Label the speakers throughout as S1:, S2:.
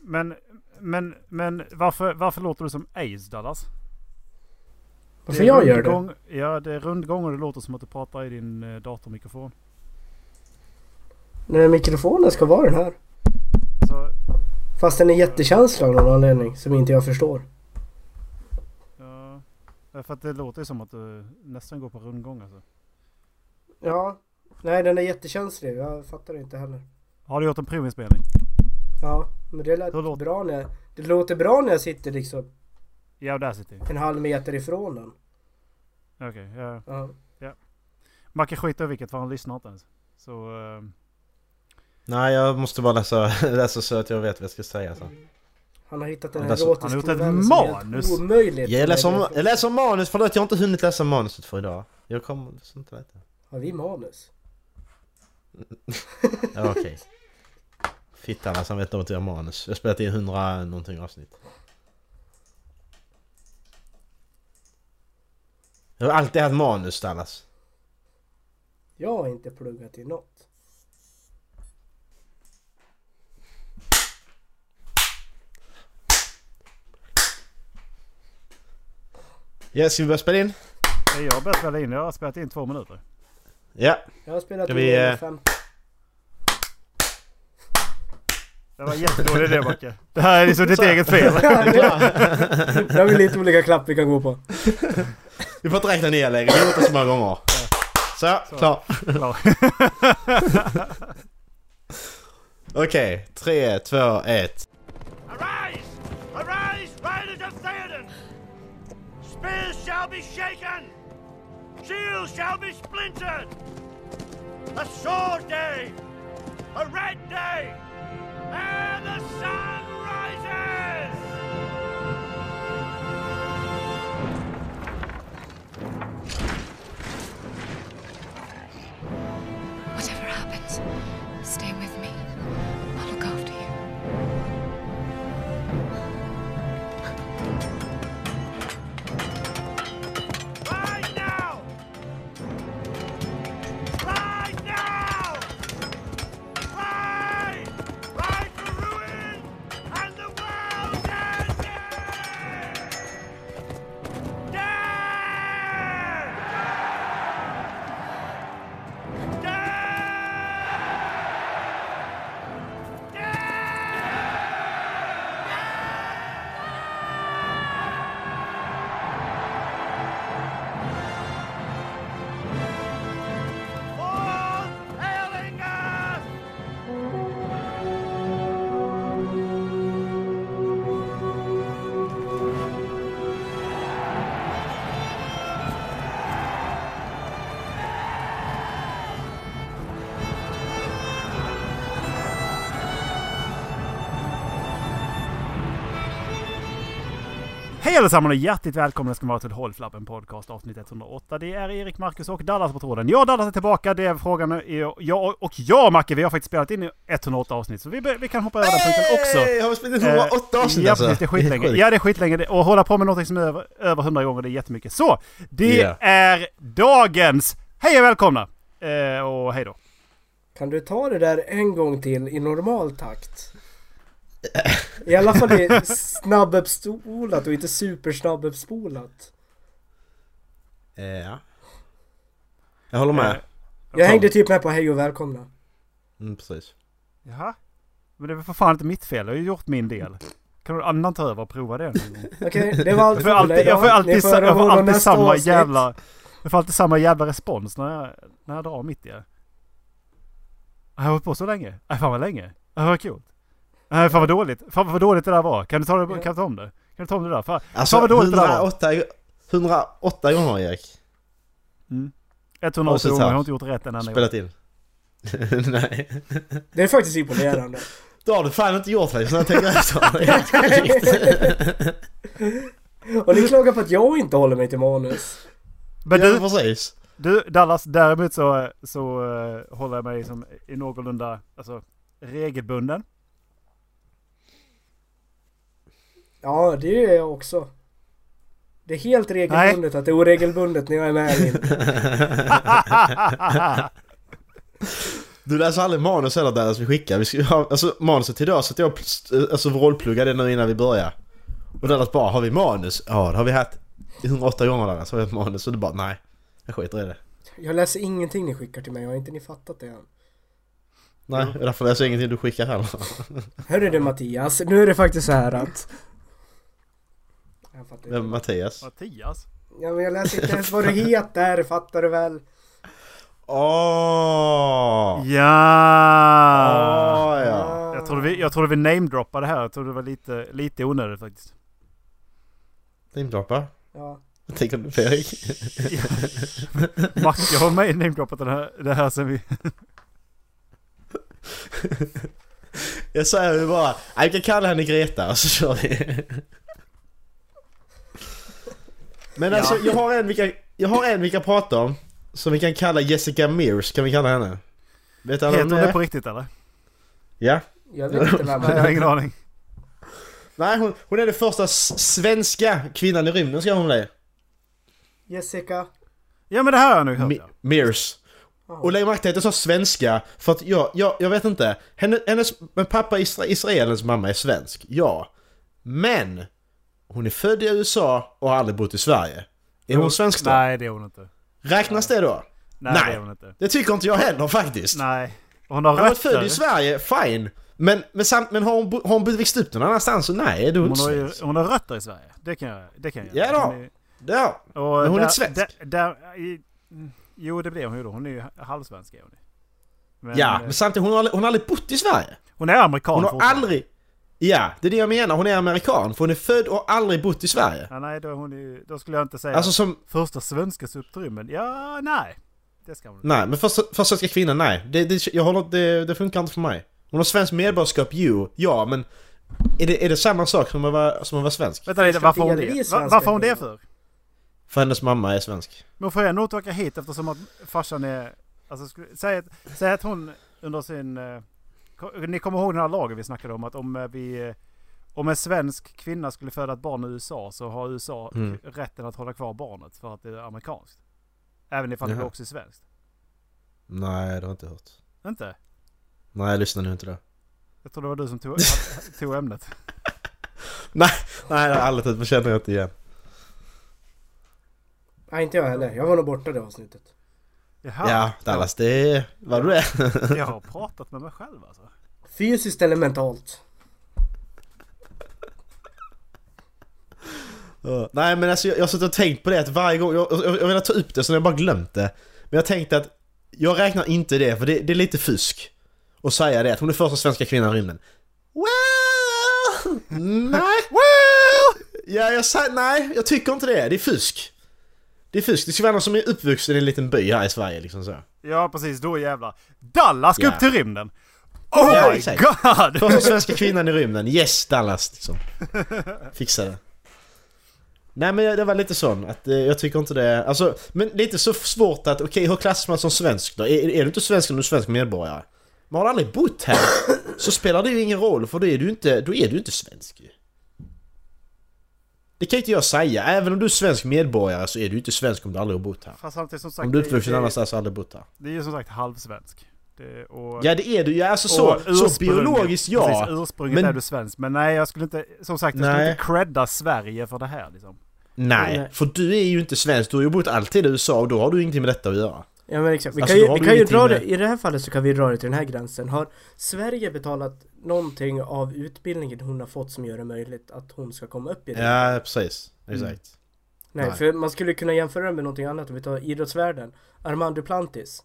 S1: Men, men, men varför, varför låter du som Ace Dallas?
S2: Varför jag gör det?
S1: rundgång, det? Ja, det är rundgång och det låter som att du pratar i din eh, datormikrofon.
S2: Nej, mikrofonen ska vara den här.
S1: Alltså,
S2: Fast den är jättekänslig av någon anledning som inte jag förstår.
S1: ja, för att det låter ju som att du nästan går på rundgång alltså.
S2: Ja. Nej, den är jättekänslig. Jag fattar det inte heller.
S1: Har du gjort en provinspelning?
S2: Ja, men det lät
S1: Då låter-
S2: bra när jag... Det låter bra när jag sitter liksom
S1: Ja, där sitter jag.
S2: en halv meter ifrån den.
S1: Okej, ja.
S2: Ja.
S1: Macke skiter i vilket för han lyssnar inte ens. Så, eh,
S3: Nej, jag måste bara läsa, läsa så att jag vet vad jag ska säga sen.
S2: Han har hittat en
S3: Han har-
S2: erotisk
S1: han har gjort ett
S2: novell som är helt
S1: manus.
S2: Omöjligt.
S3: Jag läser, om, jag läser om manus, förlåt jag har inte hunnit läsa manuset för idag. Jag kommer liksom inte veta.
S2: Har vi manus?
S3: Ja, okej. Fittan alltså, han vet något om manus. Jag har spelat in 100 någonting avsnitt. Jag har alltid haft manus Dallas.
S2: Jag har inte pluggat i något.
S3: Ja, ska vi börja spela in?
S1: jag har börjat spela in. Jag har spelat in två minuter.
S3: Ja.
S2: Jag har spelat
S3: Ska
S2: in
S3: vi, eh,
S2: 150.
S1: Det var en jättedålig idé Macke. Det här är liksom ditt eget fel.
S2: Det har vi lite olika klapp vi kan gå på.
S3: Vi får inte räkna ner längre, vi har gjort det så många gånger. Så, klar.
S1: Ja.
S3: Okej, tre, två, ett.
S4: Arise! Arise! Riders of Theoden! Spears shall be shaken! Shields shall be splintered! A sword day! A red day! And the sun rises!
S5: Whatever happens, stay with me. I'll look after you.
S4: Ride now! Ride now! Ride! Ride for ruin and the world ending! Death! Death! All hailing us!
S1: Hej allesammans och hjärtligt välkomna ska ni vara till Håll Flabben Podcast avsnitt 108. Det är Erik, Marcus och Dallas på tråden. Jag och Dallas är tillbaka. Det är frågan är jag och jag Macke. Vi har faktiskt spelat in 108 avsnitt så vi, be- vi kan hoppa över den punkten också.
S3: Hey, Har vi spelat in 108
S1: Eh,
S3: avsnitt
S1: ja,
S3: alltså?
S1: Precis, det är skitlänge.
S3: sjukt.
S1: ja, det är skitlänge. Det- Och hålla på med någonting som är över, över 100 gånger, det är jättemycket. Så, det
S3: Ja.
S1: är dagens. Hej och välkomna! Eh, och hej då.
S2: Kan du ta det där en gång till i normal takt? I alla fall i snabbuppspolat och inte supersnabbuppspolat.
S3: Eh, Ja. Jag håller med.
S1: Eh,
S2: Jag hängde typ med på hej och välkomna.
S3: Mm, precis.
S1: Jaha? Men det är väl för fan inte mitt fel. Jag har ju gjort min del. Kan någon annan ta över och prova det en gång?
S2: Okej, det var allt
S1: Jag får alltid,
S2: idag.
S1: jag får
S2: Ni
S1: alltid, sa- jag får
S2: höra
S1: alltid
S2: nästa
S1: samma
S2: avsnitt.
S1: jävla... Jag får alltid samma jävla respons när jag, när jag drar mitt i det. Jag har hållit på så länge. Äh, fan vad länge. Äh, vad kul. Äh, fan vad dåligt. Fan vad dåligt det där var. Kan du ta, det, kan du ta om det? Kan du ta om det där? Fan,
S3: Alltså
S1: fan vad dåligt det där var.
S3: 108, 108 gånger Erik.
S1: 180
S3: avsnitt
S1: gånger. Jag
S3: här.
S1: har inte gjort rätt en enda gång.
S3: Spelat in. Nej.
S2: Det är faktiskt imponerande.
S3: Då har du fan inte gjort det, så när jag tänker efter.
S2: Och ni klagar på att jag inte håller mig till manus.
S1: Men
S3: Ja,
S1: du,
S3: precis.
S1: Du Dallas, däremot så, så eh, håller jag mig liksom i någorlunda alltså, regelbunden.
S2: Ja, det är jag också. Det är helt regelbundet att det är oregelbundet när jag är med in.
S3: Du läser aldrig manus heller Dallas vi skickar. Vi ska, ha- alltså manuset till idag så att jag pl- alltså, rollpluggar det nu innan vi börjar. Och Dallas bara, har vi manus? Ja, det har vi haft 108 gånger Dallas. Har vi haft manus? Och du bara, nej. Jag skiter i det.
S2: Jag läser ingenting ni skickar till mig, har inte ni fattat det än?
S3: Nej, och därför läser jag ingenting du skickar heller.
S2: Hörru du Mattias, nu är det faktiskt så här att... Jag fattar
S3: Vem är
S2: inte.
S3: Mattias?
S1: Mattias?
S2: Ja, men jag läser inte ens vad du heter, fattar du väl?
S3: Åh!
S1: Ja!
S3: Åh, ja.
S2: Ah,
S1: Jag trodde vi, jag trodde vi namedroppade här. Jag trodde det var lite, lite onödigt faktiskt.
S3: Dimdroppar.
S2: Ja.
S3: Vad tänker du Fredrik?
S1: Mark, jag har med namedroppat det här, det här sen vi...
S3: Jag säger ju bara, "Nej, vi kan kalla henne Greta och så kör vi. Men alltså jag har en vi kan, jag har en vi kan prata om. Som vi kan kalla Jessica Mears, kan vi kalla henne? Vet alla
S1: Heter
S3: om
S1: hon
S3: det?
S1: det
S3: är?
S1: på riktigt eller?
S3: Ja.
S2: Jag vet inte
S1: Nej, jag
S2: vem
S1: har
S2: det är.
S1: ingen aning.
S3: Nej hon, hon är den första s- svenska kvinnan i rymden ska hon bli.
S2: Jessica.
S1: Ja men det här har jag nog hört
S3: Me-
S1: ja.
S3: Mears. Och lägg märke till att jag sa svenska, för att jag, jag, jag vet inte. Henne, hennes, men pappa är isra, israelens mamma är svensk, ja. Men! Hon är född i USA och har aldrig bott i Sverige. Är hon svensk då?
S1: Nej det är hon inte.
S3: Räknas det då?
S1: Nej,
S3: Nej.
S1: det är hon inte.
S3: Det tycker inte jag heller faktiskt.
S1: Nej. Hon har
S3: Har hon varit född i
S1: rötter.
S3: Sverige, fine. Men, men, samt, men har hon, bo- har hon växt upp någon annanstans så nej, då är
S1: Hon
S3: hon inte
S1: har, ju,
S3: svensk.
S1: hon har rötter i Sverige. Det kan jag, det kan jag.
S3: Ja då.
S1: Hon är-
S3: Ja.
S1: och
S3: Men hon är
S1: där-
S3: inte svensk.
S1: Där, där, i, jo det blir hon ju då. Hon är ju halvsvensk är hon ju. Men,
S3: ja,
S1: eh,
S3: men samtidigt hon har, aldrig- hon har aldrig bott i Sverige.
S1: Hon är amerikan
S3: Hon har
S1: fortfarande.
S3: aldrig... Ja, det är det jag menar. Hon är amerikan, för hon är född och har aldrig bott i Sverige.
S1: Ja, nej, då, är hon ju, då skulle jag inte säga
S3: Alltså som...
S1: första svenska sutrymmen. Ja, nej. Det ska hon inte.
S3: Nej, men första, första svenska kvinnan, nej. Det, det, jag håller, det, det funkar inte för mig. Hon har svenskt medborgarskap, ju. Ja, men... Är det, är det samma sak som att vara, som att vara svensk?
S1: Vänta lite, varför har hon
S2: Ska vi
S1: det?
S2: svenska
S1: Va- Varför har hon det
S2: kvinnor?
S1: för?
S3: För hennes mamma är svensk.
S1: Men hon får ändå inte åka hit eftersom att farsan är... Alltså, skulle- säg, att, säg att hon under sin... eh, ko- Ni kommer ihåg den här lagen vi snackade om att om eh, vi... eh, Om en svensk kvinna skulle föda ett barn i USA så har USA
S3: Mm.
S1: rätten att hålla kvar barnet för att det är amerikanskt. Även ifall det
S3: Jaha.
S1: också är svenskt.
S3: Nej, det har jag inte hört.
S1: Inte?
S3: Nej, jag lyssnar nu inte då.
S1: Jag tror det var du som tog, tog ämnet.
S3: Nej, det har aldrig hört. känner jag inte igen.
S2: Nej, inte jag heller. Jag var nog borta det avsnittet.
S1: Jaha.
S3: Ja, Dallas, det är... Vad du är.
S1: Jag har pratat med mig själv alltså.
S2: Fysiskt eller mentalt?
S3: Ja. Nej men alltså jag, jag har suttit och tänkt på det att varje gång, jag, jag, jag vill ta upp det så jag har bara glömt det. Men jag tänkte att jag räknar inte det för det, det är lite fusk. Att säga det, att hon är första svenska kvinnan i rymden. Well! Nej! well! Ja jag sa, nej jag tycker inte det, det är fusk. Det är fusk, det ska vara någon som är uppvuxen i en liten by här i Sverige liksom så.
S1: Ja precis, då jävlar. Dallas ska
S3: Ja.
S1: upp till rymden! Oh
S3: Ja,
S1: my
S3: exakt.
S1: god!
S3: Första svenska kvinnan i rymden, yes Dallas liksom. Fixa det. Nej men det var lite sån att eh, jag tycker inte det, alltså men lite så svårt att okej hur klassas man som svensk då? Är, är du inte svensk om du är svensk medborgare? Men har du aldrig bott här så spelar det ju ingen roll för då är du inte, då är du inte svensk ju. Det kan ju inte jag säga, även om du är svensk medborgare så är du ju inte svensk om du aldrig har bott här.
S1: Fast samtidigt som sagt,
S3: Om du är
S1: det-
S3: uppvuxen
S1: det-
S3: annanstans och aldrig bott här.
S1: Det är ju som sagt halvsvensk. Det, och,
S3: Ja det är du ju, alltså
S1: och
S3: så, så
S1: ursprung-
S3: biologiskt ja.
S1: Precis, ursprunget
S3: men-
S1: är du svensk. Men nej, jag skulle inte, som sagt, jag skulle
S3: Nej.
S1: inte credda Sverige för det här liksom.
S3: Nej,
S2: Nej.
S3: för du är ju inte svensk. Du har ju bott alltid i USA och då har du ingenting med detta att göra.
S2: Ja men exakt. Vi
S3: Alltså,
S2: kan
S3: då
S2: ju,
S3: har
S2: vi
S3: du
S2: kan ju
S3: ingenting
S2: dra
S3: med-
S2: det, i det här fallet så kan vi dra det till den här gränsen. Har Sverige betalat någonting av utbildningen hon har fått som gör det möjligt att hon ska komma upp i det?
S3: Ja, precis.
S1: Mm.
S3: Exakt.
S2: Nej,
S3: Nej.
S2: för man skulle kunna jämföra det med någonting annat om vi tar idrottsvärlden. Armand Duplantis.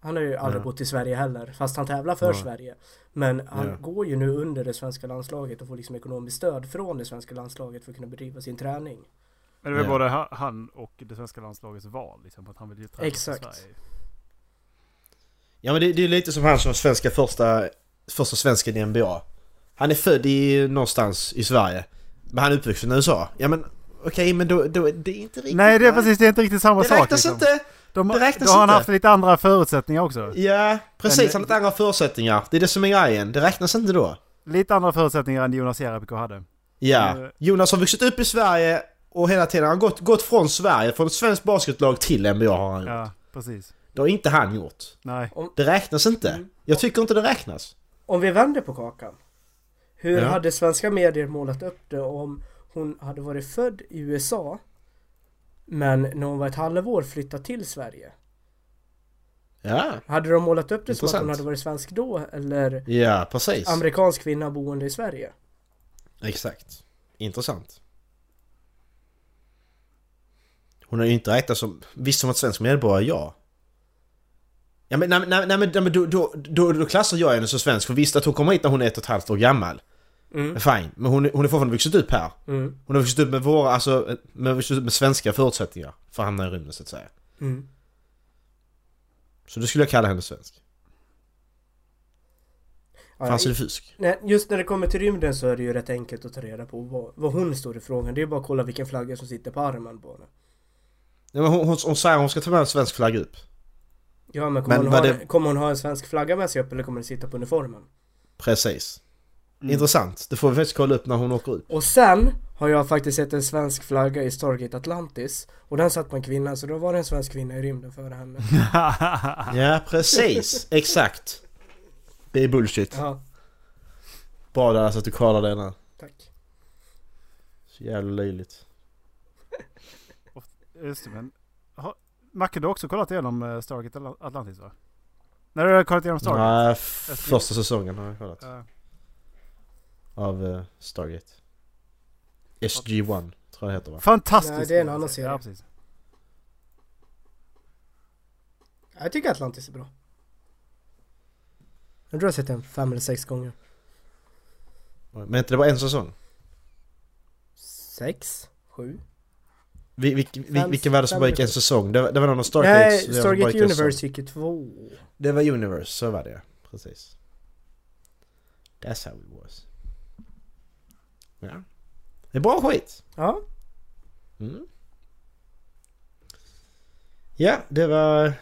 S2: Han har ju aldrig
S3: Ja.
S2: bott i Sverige heller, fast han tävlar för
S3: Ja.
S2: Sverige. Men han
S3: Ja.
S2: går ju nu under det svenska landslaget och får liksom ekonomiskt stöd från det svenska landslaget för att kunna bedriva sin träning.
S1: Men det var
S3: Ja.
S1: både ha- han och det svenska landslagets val liksom, att han vill ju träna för
S2: Exakt.
S1: Sverige.
S3: Ja, men det, det är lite som han som var svenska första, första svensken i NBA. Han är född i, någonstans i Sverige. Men han är uppvuxen i USA. Ja, men okej, men då, då det är inte riktigt...
S1: Nej, det är precis, det är inte riktigt samma
S3: Det
S1: sak.
S3: räknas
S1: liksom.
S3: inte!
S1: De,
S3: det räknas
S1: då har han
S3: inte.
S1: haft lite andra förutsättningar också.
S3: Ja, precis.
S1: Men-
S3: han har lite andra förutsättningar. Det är det som är grejen. Det räknas inte då.
S1: Lite andra förutsättningar än Jonas Jerebko hade.
S3: Ja.
S1: Mm.
S3: Jonas har vuxit upp i Sverige och hela tiden har han gått, gått från Sverige, från ett svenskt basketlag till NBA har han gjort.
S1: Ja, precis.
S3: Det har inte han gjort.
S1: Nej.
S3: Det räknas inte.
S2: Mm.
S3: Jag tycker inte det räknas.
S2: Om vi vänder på kakan. Hur
S3: Ja.
S2: hade svenska medier målat upp det om hon hade varit född i USA men när hon var ett halvår flyttat till Sverige?
S3: Ja,
S2: Hade de målat upp det som att hon
S3: Intressant.
S2: hade varit svensk då eller
S3: ja precis.
S2: amerikansk kvinna boende i Sverige?
S3: Exakt. Intressant. Hon har ju inte räknats som... Visst som ett svensk medborgare, ja. Ja men, nej, men- nej, nej, men, nej, men då, då, då, då klassar jag henne som svensk för visst att hon kommer hit när hon är ett och ett halvt år gammal.
S2: Mm.
S3: Fine, men hon, är- hon är fortfarande vuxit upp här.
S2: Mm.
S3: Hon har vuxit upp med våra, alltså med, vuxit upp med svenska förutsättningar för att hamna i rymden så att säga.
S2: Mm.
S3: Så då skulle jag kalla henne svensk.
S2: Ja,
S3: Fanns
S2: i-
S3: det fusk?
S2: nej, just när det kommer till rymden så är det ju rätt enkelt att ta reda på vad, vad hon står i frågan. Det är ju bara att kolla vilken flagga som sitter på armen på henne.
S3: Nej, men hon, hon, hon säger att hon ska ta med en svensk flagga upp.
S2: Ja men, kommer,
S3: Men
S2: hon ha,
S3: vad
S2: en-
S3: det-
S2: kommer hon ha en svensk flagga med sig upp eller kommer den sitta på uniformen?
S3: Precis.
S2: Mm.
S3: Intressant. Det får vi faktiskt kolla upp när hon åker ut.
S2: Och sen har jag faktiskt sett en svensk flagga i Stargate Atlantis Och den satt på en kvinna så då var det en svensk kvinna i rymden före henne
S3: Ja, precis. Exakt. Det är bullshit.
S2: Ja,
S3: Bra där alltså att du kollar det där.
S2: tack
S3: Så jävla löjligt.
S1: Just det, men... Har, Macke, du har också kollat igenom eh, Stargate Atl- Atlantis va? När du har kollat igenom Stargate?
S3: Nej, f- första säsongen har jag kollat.
S1: Eh,
S3: Av eh, Stargate. SG-1 tror jag det heter va?
S1: fantastiskt!
S2: Nej, det är en annan serie.
S1: Ja, precis.
S2: Jag tycker Atlantis är bra Jag tror jag har sett den fem eller sex gånger
S3: Men inte det var en säsong?
S2: Sex? Sju?
S3: Vi, vi, vi,
S2: Fem-
S3: vilken var det som bara gick en
S2: fem-
S3: säsong? Det var, det var någon av Stargate
S2: Nej,
S3: som bara gick
S2: Stargate
S3: en säsong.
S2: Universe gick ju två
S3: Det var Universe, så var det ja. Precis. That's how it was. Ja. Det är bra skit!
S2: Ja,
S3: Mm. Ja, det var...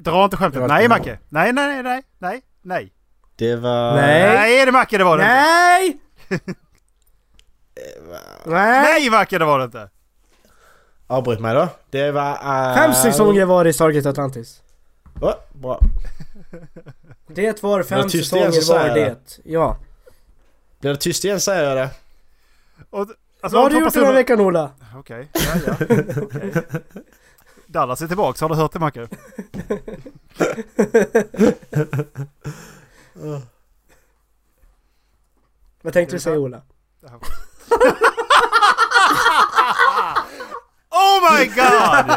S1: Dra inte skämtet.
S3: Det var
S1: Nej,
S3: ett mål.
S1: Macke! Nej, nej, nej, nej, nej, nej.
S3: Det var...
S2: Nej.
S1: Nej, det är Macke, det var det inte!
S2: nej! Nej!
S1: Nej, Macke, det var det inte!
S3: Avbryt mig då. Det var... Uh...
S2: Fem säsonger var det i Stargate Atlantis
S3: Oh, bra.
S2: Det var fem
S3: var tyst
S2: säsonger
S3: igen, så
S2: var
S3: säger jag.
S2: det Ja
S3: Blir det tyst igen säger jag det.
S1: Och, alltså,
S2: Vad har
S1: om två
S2: du gjort den
S1: personer-
S2: här veckan Ola?
S1: Okej, ja, ja. Okej. Dallas är tillbaka, har du hört det Macke?
S2: Vad tänkte du säga Ola?
S1: Oh my god!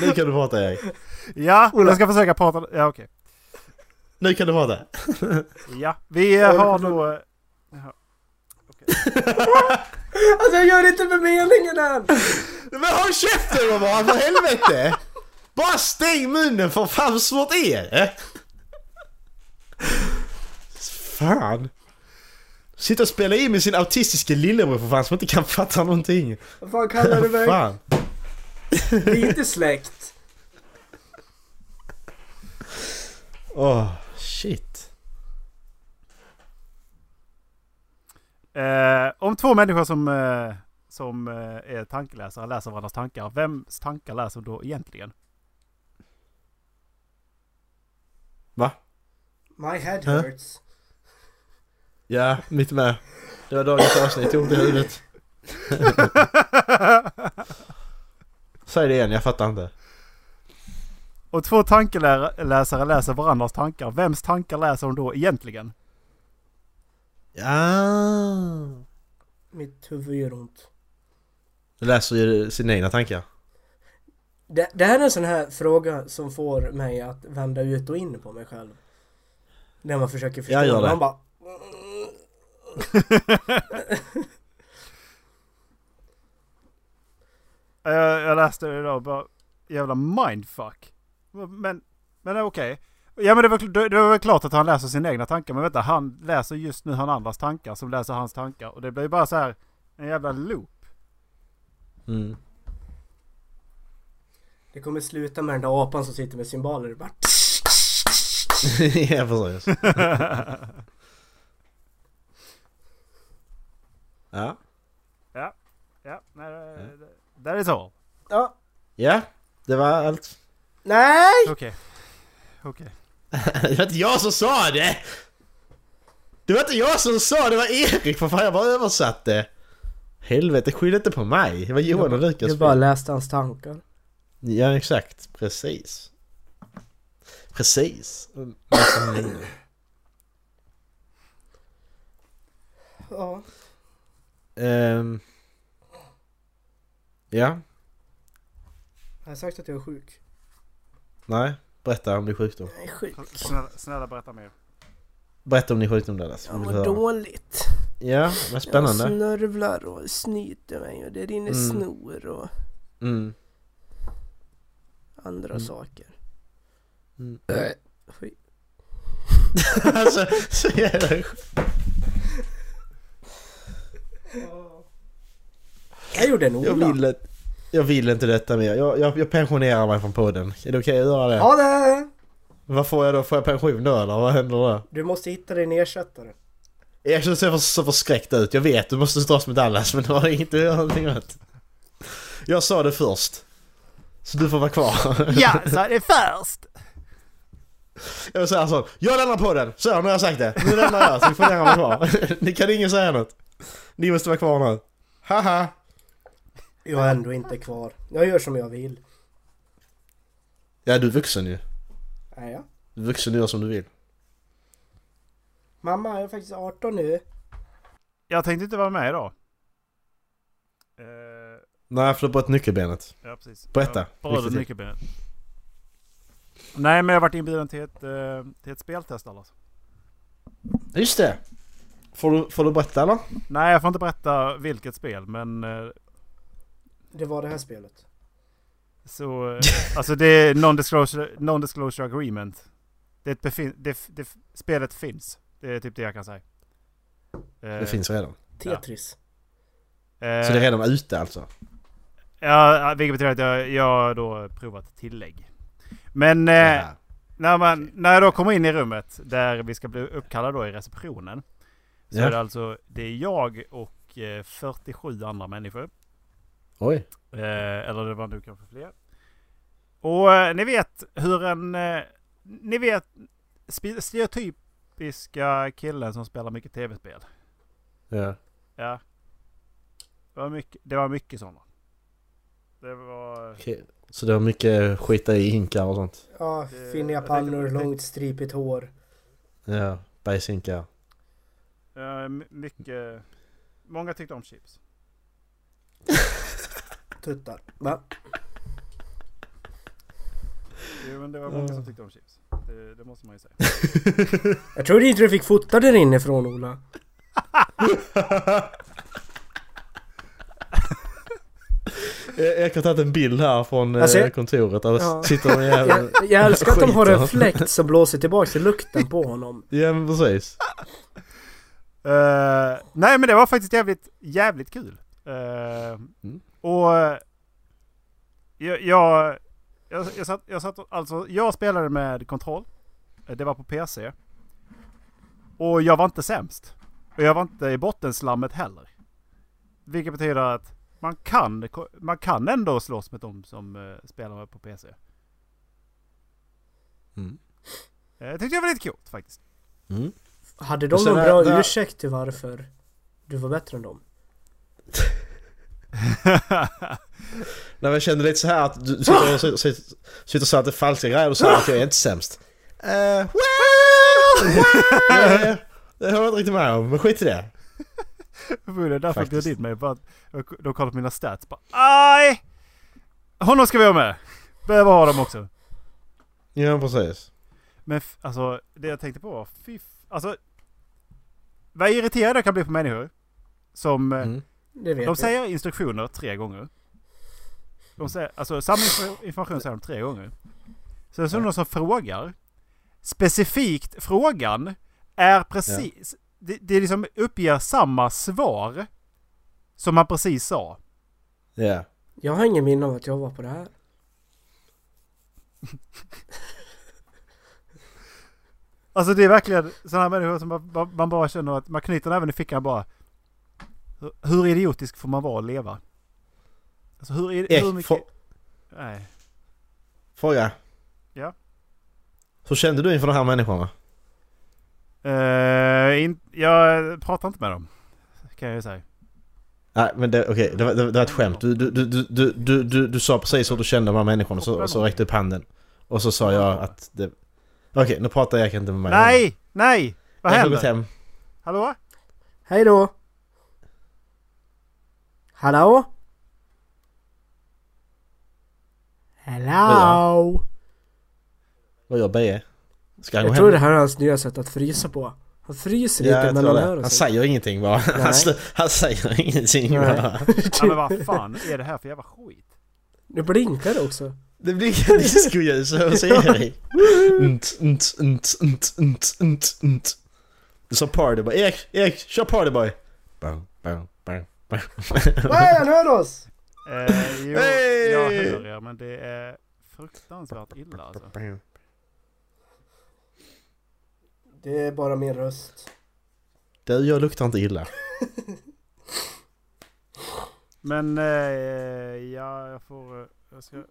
S3: Nu kan du prata Erik.
S1: Ja, jag ska försöka prata. Ja, okej.
S3: Nu kan du prata.
S1: Ja, vi eh, har då... eh,
S2: Alltså jag gör det inte med meningen än!
S3: Men håll käften då bara, för helvete! Bara stäng munnen för fan, hur svårt är det? Fan! Sitta och spela in med sin autistiska lillebror för fan som inte kan fatta någonting.
S2: Vad fan kallar du mig?
S3: Fan.
S2: Vi är inte släkt.
S3: Åh, shit.
S1: Eh, om två människor som, eh, som eh, är tankeläsare läser varandras tankar, vems tankar läser då egentligen?
S3: Va?
S2: My head
S3: Hä?
S2: hurts.
S3: Ja, mitt med. Det var dagens avsnitt, ont i huvudet. Säg det igen, jag fattar inte.
S1: Om två tankeläsare läser varandras tankar, vems tankar läser de då egentligen?
S3: Ja.
S2: Mitt huvud gör ont.
S3: Du läser ju sina egna tankar.
S2: Det, det här är en sån här fråga som får mig att vända ut och in på mig själv. När man försöker förstå.
S3: Jag gör
S2: den.
S3: det.
S2: Man bara...
S1: Eh, jag läste det idag, bara jävla mindfuck. Men, men eh, okej. Ja men det var, kl- det var väl klart att han läser sina egna tankar, men vänta, han läser just nu han andras tankar som läser hans tankar. Och det blir ju bara så här en jävla loop.
S3: Mm.
S2: Det kommer sluta med den där apan som sitter med cymbaler. Bara...
S3: ja, precis. ja.
S1: Ja, nej, det- det- that is all.
S2: Ja,
S3: Ja. Det var allt.
S2: Nej!
S1: Okej. Okej.
S3: Det var inte jag som sa det! Det var inte jag som sa det, det var Erik för fan jag bara översatte! Helvete, skyll inte på mig! Det var Johan och Lukas
S2: Jag bara läste hans tankar.
S3: Ja, exakt. Precis. Precis. Massa miner.
S2: Ja.
S3: Ehm. Ja,
S2: Jag har sagt att jag är sjuk.
S3: nej. Berätta om din sjukdom.
S2: Jag är sjuk.
S1: Snälla, snälla berätta mer.
S3: Berätta om din sjukdom Dallas.
S2: Jag
S3: Vi vill
S2: mår
S3: höra.
S2: dåligt.
S3: Ja, men
S2: Jag
S3: spännande.
S2: snörvlar och snyter mig och det rinner
S3: Mm.
S2: snor och
S3: Mm.
S2: andra
S3: Mm.
S2: saker.
S3: Mm.
S2: Äh, skit.
S3: alltså, så jävla
S2: Jag gjorde en
S3: Jag
S2: Ola.
S3: vill, inte- jag vill inte detta mer. Jag, jag, jag pensionerar mig från podden. Är det okej att göra det?
S2: Ja, det!
S3: Vad får jag då? Får jag pension då eller vad händer då?
S2: Du måste hitta din ersättare.
S3: Jag känner så, för, så förskräckt ut. Jag vet, du måste dras med Dallas men det har inget att göra någonting åt. Jag sa det först. Så du får vara kvar.
S1: Ja, så är det först!
S3: Jag säger så. Jag lämnar podden! Så, nu har jag sagt det. Nu lämnar jag så får ni andra vara kvar. Ni kan ingen säga något. Ni måste vara kvar nu. Haha!
S2: Jag är ändå inte kvar. Jag gör som jag vill.
S3: Ja, du är vuxen ju.
S2: Är jag?
S3: Du är vuxen och gör som du vill.
S2: Mamma, jag är faktiskt 18 nu.
S1: Jag tänkte inte vara med idag. Eh,
S3: Nej, för du har brutit nyckelbenet.
S1: Ja, precis.
S3: Berätta.
S1: Jag Brödet
S3: Vilket-
S1: nyckelbenet. Nej, men jag har varit inbjuden till ett, eh, till ett speltest alltså.
S3: Just det! Får du, får du berätta eller?
S2: Eh.
S1: Nej, jag får inte berätta vilket spel, men eh,
S2: Det var det här spelet.
S1: så... eh, Alltså det är non-disclosure, non-disclosure agreement. Det, är ett befin- det, f- det, f- spelet finns. Det är typ det jag kan säga. Eh,
S3: Det finns redan.
S2: Tetris. Eh.
S3: Så det är redan ute alltså?
S1: Ja, vilket betyder att jag, jag har då provat ett tillägg. Men eh,
S3: Ja.
S1: när, man, när jag då kommer in i rummet där vi ska bli uppkallade då i receptionen. Så
S3: Ja.
S1: är det alltså, det är jag och eh, 47 andra människor.
S3: Oj.
S1: Eh, eller det var nu kanske fler. Och eh, ni vet hur en... Eh, ni vet spe- stereotypiska killen som spelar mycket tv-spel.
S3: Ja.
S1: Ja. Det var mycket, det var mycket sådana. Det var...
S3: Okej. Så det var mycket skita i hinkar och sånt?
S2: Ja,
S1: Det-
S2: finniga
S1: jag tänkte-
S2: pannor,
S1: jag tänkte-
S2: långt stripigt hår.
S3: Ja. Bajshinkar.
S1: Ja, my- mycket... Många tyckte om chips.
S2: Tuttar. Va?
S1: Jo, men det var många som tyckte om chips. Det, det måste man ju säga.
S2: Jag trodde inte du fick fota där inifrån Ola.
S3: Jag jag har tagit en bild här från eh,
S2: Alltså, jag-
S3: kontoret där det
S2: Ja.
S3: sitter en jävel...
S2: Jag, jag älskar att de har
S3: Skiter.
S2: en fläkt som blåser tillbaks i lukten på honom.
S3: Ja men precis.
S1: Eh, nej men det var faktiskt jävligt, jävligt kul. Eh, Och eh, jag, jag, jag, jag, satt, jag satt, alltså jag spelade med kontroll. Eh, Det var på PC. Och jag var inte sämst. Och jag var inte i bottenslammet heller. Vilket betyder att man kan, man kan ändå slåss med de som eh, spelar på PC.
S3: Mm.
S1: Eh, Jag tyckte det var lite coolt faktiskt.
S3: Mm.
S2: Hade de
S3: Och sen
S2: någon
S3: är-
S2: bra
S3: där-
S2: ursäkt till varför du var bättre än dem?
S3: Nej men jag kände lite så här att du du sitter och, sitter, sitter, sitter och säger att det är falska grejer och säger att jag är inte sämst. Eh, well, well. Eh, Det håller jag inte riktigt med om, men skit i det.
S1: Förmodligen därför
S3: Faktiskt.
S1: bjöd in mig. Bara, jag de kollade på mina stats. Bara, Aj! Honom ska vi ha med! Behöver ha dem också.
S3: Ja precis.
S1: Men f- alltså, det jag tänkte på var, fy f- Alltså, vad irriterad jag kan bli på människor. Som, eh,
S3: Mm.
S2: Det vet
S1: de
S2: vi.
S1: säger instruktioner tre gånger. De säger, alltså samma inf- information säger de tre gånger. Sen så är det någon som frågar. Specifikt frågan är precis, det, det liksom uppger samma svar som man precis sa.
S3: Ja.
S2: Jag har ingen minne av att jag var på det här.
S1: Alltså det är verkligen sådana här människor som man, man, man bara känner att man knyter även i fickan bara. Hur, hur idiotisk får man vara och leva? Alltså hur, är- hur
S3: Erik,
S1: mycket...
S3: får,
S1: Nej.
S3: Fråga.
S1: Ja.
S3: Hur kände du inför de här människorna?
S1: Eh, in, jag pratar inte med dem. Kan jag ju säga.
S3: Nej men det, okej, det, var- det, var- det var ett skämt. Du, du, du, du, du, du, du, du sa precis hur du kände de här människorna, så, så räckte du upp handen. Och så sa jag att det... Okej, nu pratar jag inte med mig.
S1: Nej! Nej! Vad
S3: Jag har gått
S1: händer?
S3: hem.
S1: Hallå?
S2: Hej då! Hallå? Hello!
S3: Vad gör BE? Ska han gå
S2: Jag tror
S3: hem?
S2: det här är hans nya sätt att frysa på. Han fryser
S3: Ja,
S2: lite
S3: jag tror
S2: mellan
S3: det.
S2: öronen.
S3: Han säger ingenting bara. Han, sl- han säger ingenting
S2: Nej.
S3: bara.
S1: Ja, men vad fan är det här för jävla skit?
S2: Nu blinkar det också.
S3: Det blir en discoljus över Siri. Nt, nt, nt, nt, nt, nt, nt. Du sa partyboy. Erik, Erik, kör partyboy. Bang, bang, bang, bang.
S2: Nej, han hör oss!
S1: Eh, jo,
S3: Hey!
S1: jag hör er men det är fruktansvärt illa alltså.
S2: Det är bara min röst.
S3: Du, jag luktar inte illa.
S1: Men eh, ja, jag får... eh, Jag ska...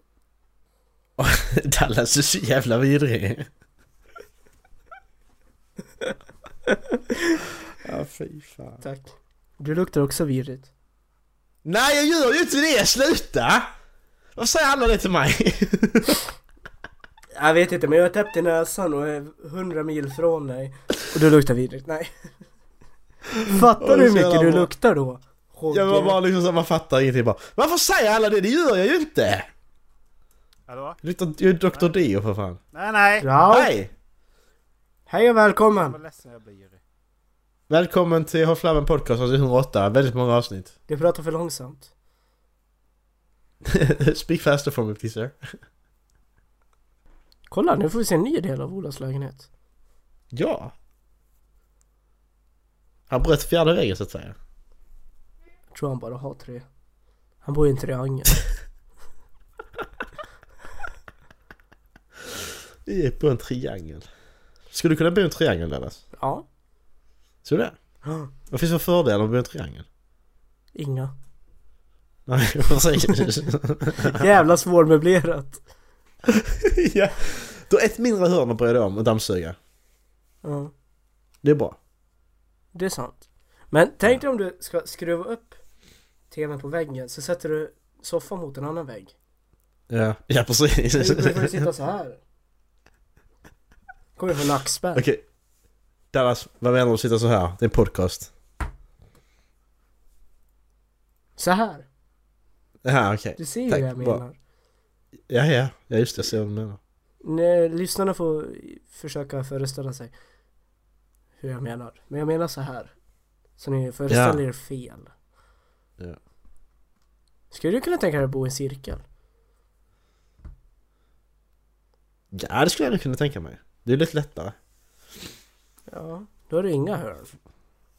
S3: Dallas är så jävla vidrig. Ja, fy fan.
S2: Tack. Du luktar också virrigt.
S3: Nej, jag gör ju inte det! Sluta! Varför säger alla det till mig?
S2: Jag vet inte, men jag har täppt i näsan och är hundra mil från dig. Och du luktar virrigt. Nej.
S3: Åh,
S2: Fattar
S3: det
S2: du
S3: är
S2: hur
S3: så
S2: mycket
S3: jävla
S2: du
S3: bra.
S2: luktar då? Hogge.
S3: Jag var bara liksom så här, man fattar ingenting bara. Varför säger alla det? Det gör jag ju inte!
S1: Hallå?
S3: Jag luktar- jag är Dr. Dio för fan.
S1: Nej, nej!
S2: Ja,
S3: Hej!
S2: hej och
S1: Vad
S2: välkommen!
S1: ledsen jag blir.
S3: Välkommen till Håll Flabben Podcast avsnitt 108. Väldigt många avsnitt.
S2: Du pratar för långsamt.
S3: Speak faster for me please sir.
S2: Kolla, nu får vi se en ny del av Olas lägenhet.
S3: Ja. Han bröt fjärde regeln så att säga.
S2: Jag tror han bara har tre. Han bor i en triangel.
S3: Vi är på en triangel. Skulle du kunna bo i en triangel Dallas?
S2: Ja.
S3: Tror du det? Vad finns det för fördelar med att bo i en triangel?
S2: Inga.
S3: Nej, precis.
S2: Jävla svårmöblerat.
S3: ja. Du har ett mindre hörn att bry dig om och dammsuga.
S2: Ja,
S3: Det är bra.
S2: det är sant. Men tänk dig om du ska skruva upp tvn på väggen så sätter du soffan mot en annan vägg.
S3: Ja, ja precis.
S2: Du får ju sitta så här. Kommer få nackspärr.
S3: Okej. Dallas, vad menar du med att sitta så här? Det är en podcast.
S2: Så här.
S3: Jaha, okej.
S2: Du ser ju
S3: Tack,
S2: vad jag
S3: bra.
S2: menar.
S3: Ja, ja. Ja, just det. Jag ser vad du menar.
S2: Nej, lyssnarna får försöka föreställa sig hur jag menar. Men jag menar så här. Så ni föreställer er fel.
S3: Ja.
S2: Skulle du kunna tänka dig att bo i en cirkel?
S3: Ja, det skulle jag nog kunna tänka mig. Det är lite lättare.
S2: Ja. Då har du inga hörn.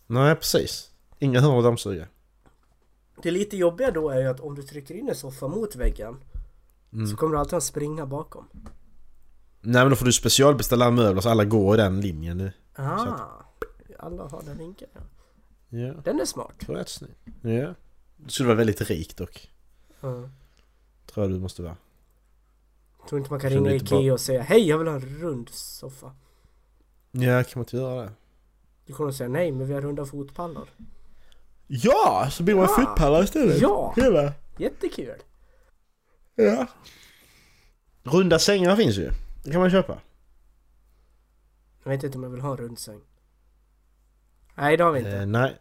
S3: Nej, precis. Inga hörn att dammsuga.
S2: Det lite jobbiga då är ju att om du trycker in en soffa mot väggen
S3: Mm.
S2: så kommer du alltid att springa bakom.
S3: Nej, men då får du specialbeställa möbler så alla går i den linjen nu.
S2: Ah, alla har den vinkeln. ja.
S3: Ja,
S2: Den är smart.
S3: det var rätt snyggt. Ja. Du skulle vara väldigt rik dock.
S2: Mm.
S3: Tror jag du måste vara.
S2: Tror inte man kan
S3: Känner
S2: ringa
S3: lite bara-
S2: Ikea och säga hej jag vill ha en rund soffa.
S3: Ja, kan man inte göra det?
S2: Du kommer att säga nej men vi har runda fotpallar.
S3: Ja! Så blir man
S2: Ja.
S3: fotpallar istället.
S2: Ah. Ja!
S3: Hela.
S2: Jättekul!
S3: Ja. Runda sängar finns ju. Det kan man köpa.
S2: Jag vet inte om jag vill ha en rund säng. Nej det har vi inte.
S3: Eh, nej.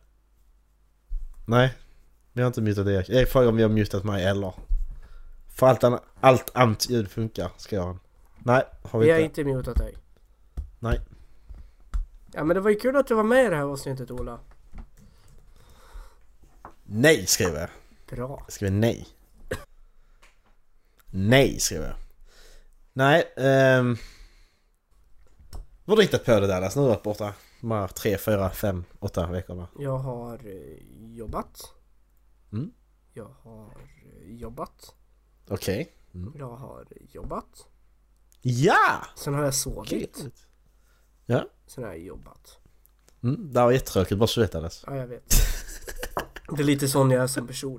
S3: Nej. Vi har inte mutat Erik. Erik frågar om vi har mutat mig eller. För allt, anna- allt annat ljud funkar, ska han. Nej, har vi,
S2: Vi har
S3: inte.
S2: inte mutat dig.
S3: Nej.
S2: Ja men det var ju kul att du var med i det här avsnittet Ola.
S3: Nej, skriver jag.
S2: Bra.
S3: Jag skriver nej. Nej, skriver jag. Nej, ehm... Vad har du hittat på det där? Alltså, nu har du varit borta de här tre, fyra, fem, åtta veckorna.
S2: Jag har eh, jobbat.
S3: Mm.
S2: Jag har eh, jobbat.
S3: Okej.
S2: Jag har jobbat.
S3: Ja!
S2: Sen har jag sovit.
S3: Grymt. Ja.
S2: Sen har jag jobbat.
S3: Mm, det här var jättetråkigt, bara så du vet Alice.
S2: Ja, jag vet. Det är lite sån jag är som person.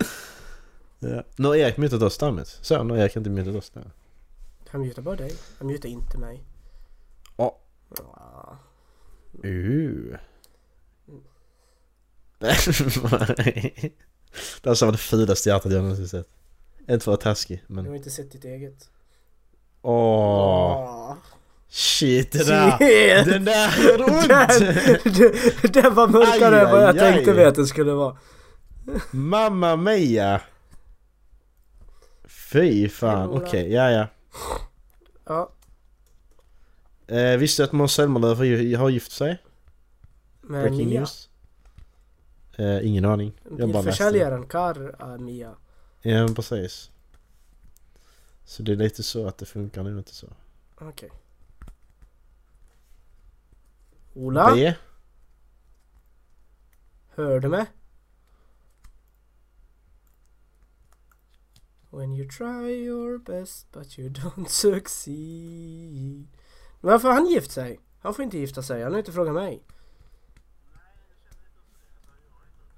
S3: Ja. Nu har Erik mutat oss därmed. Så, nu har Erik inte mutat oss där.
S2: Han mutar bara dig. Han mutar inte mig.
S3: Ja.
S2: Ja.
S3: Uh. det här var det filaste hjärtat jag någonsin sett. Inte för att vara taskig,
S2: Du har
S3: men...
S2: inte sett ditt eget.
S3: Åh!
S2: Ah.
S3: Shit, det där!
S2: Shit.
S3: Den där gör ont!
S2: Den- Den var mörkare
S3: Aj,
S2: än vad jag
S3: aj,
S2: tänkte
S3: aj.
S2: mig att den skulle vara.
S3: Mamma mia! Fy fan,
S2: Förlora.
S3: okej, ja ja.
S2: Ja,
S3: Eh, visste du att Måns Zelmerlöw har gi- har gift sig?
S2: men
S3: Breaking
S2: Mia.
S3: news. Eh, ingen aning. Jag bara läste det.
S2: Bilförsäljaren Kar ah, Mia.
S3: Ja, men precis. Så det är lite så att det funkar nu inte så.
S2: Okej. Ola,
S3: B.
S2: hör du mig? When you try your best but you don't succeed. Varför har han gift sig? Han får inte gifta sig, han har inte frågat mig.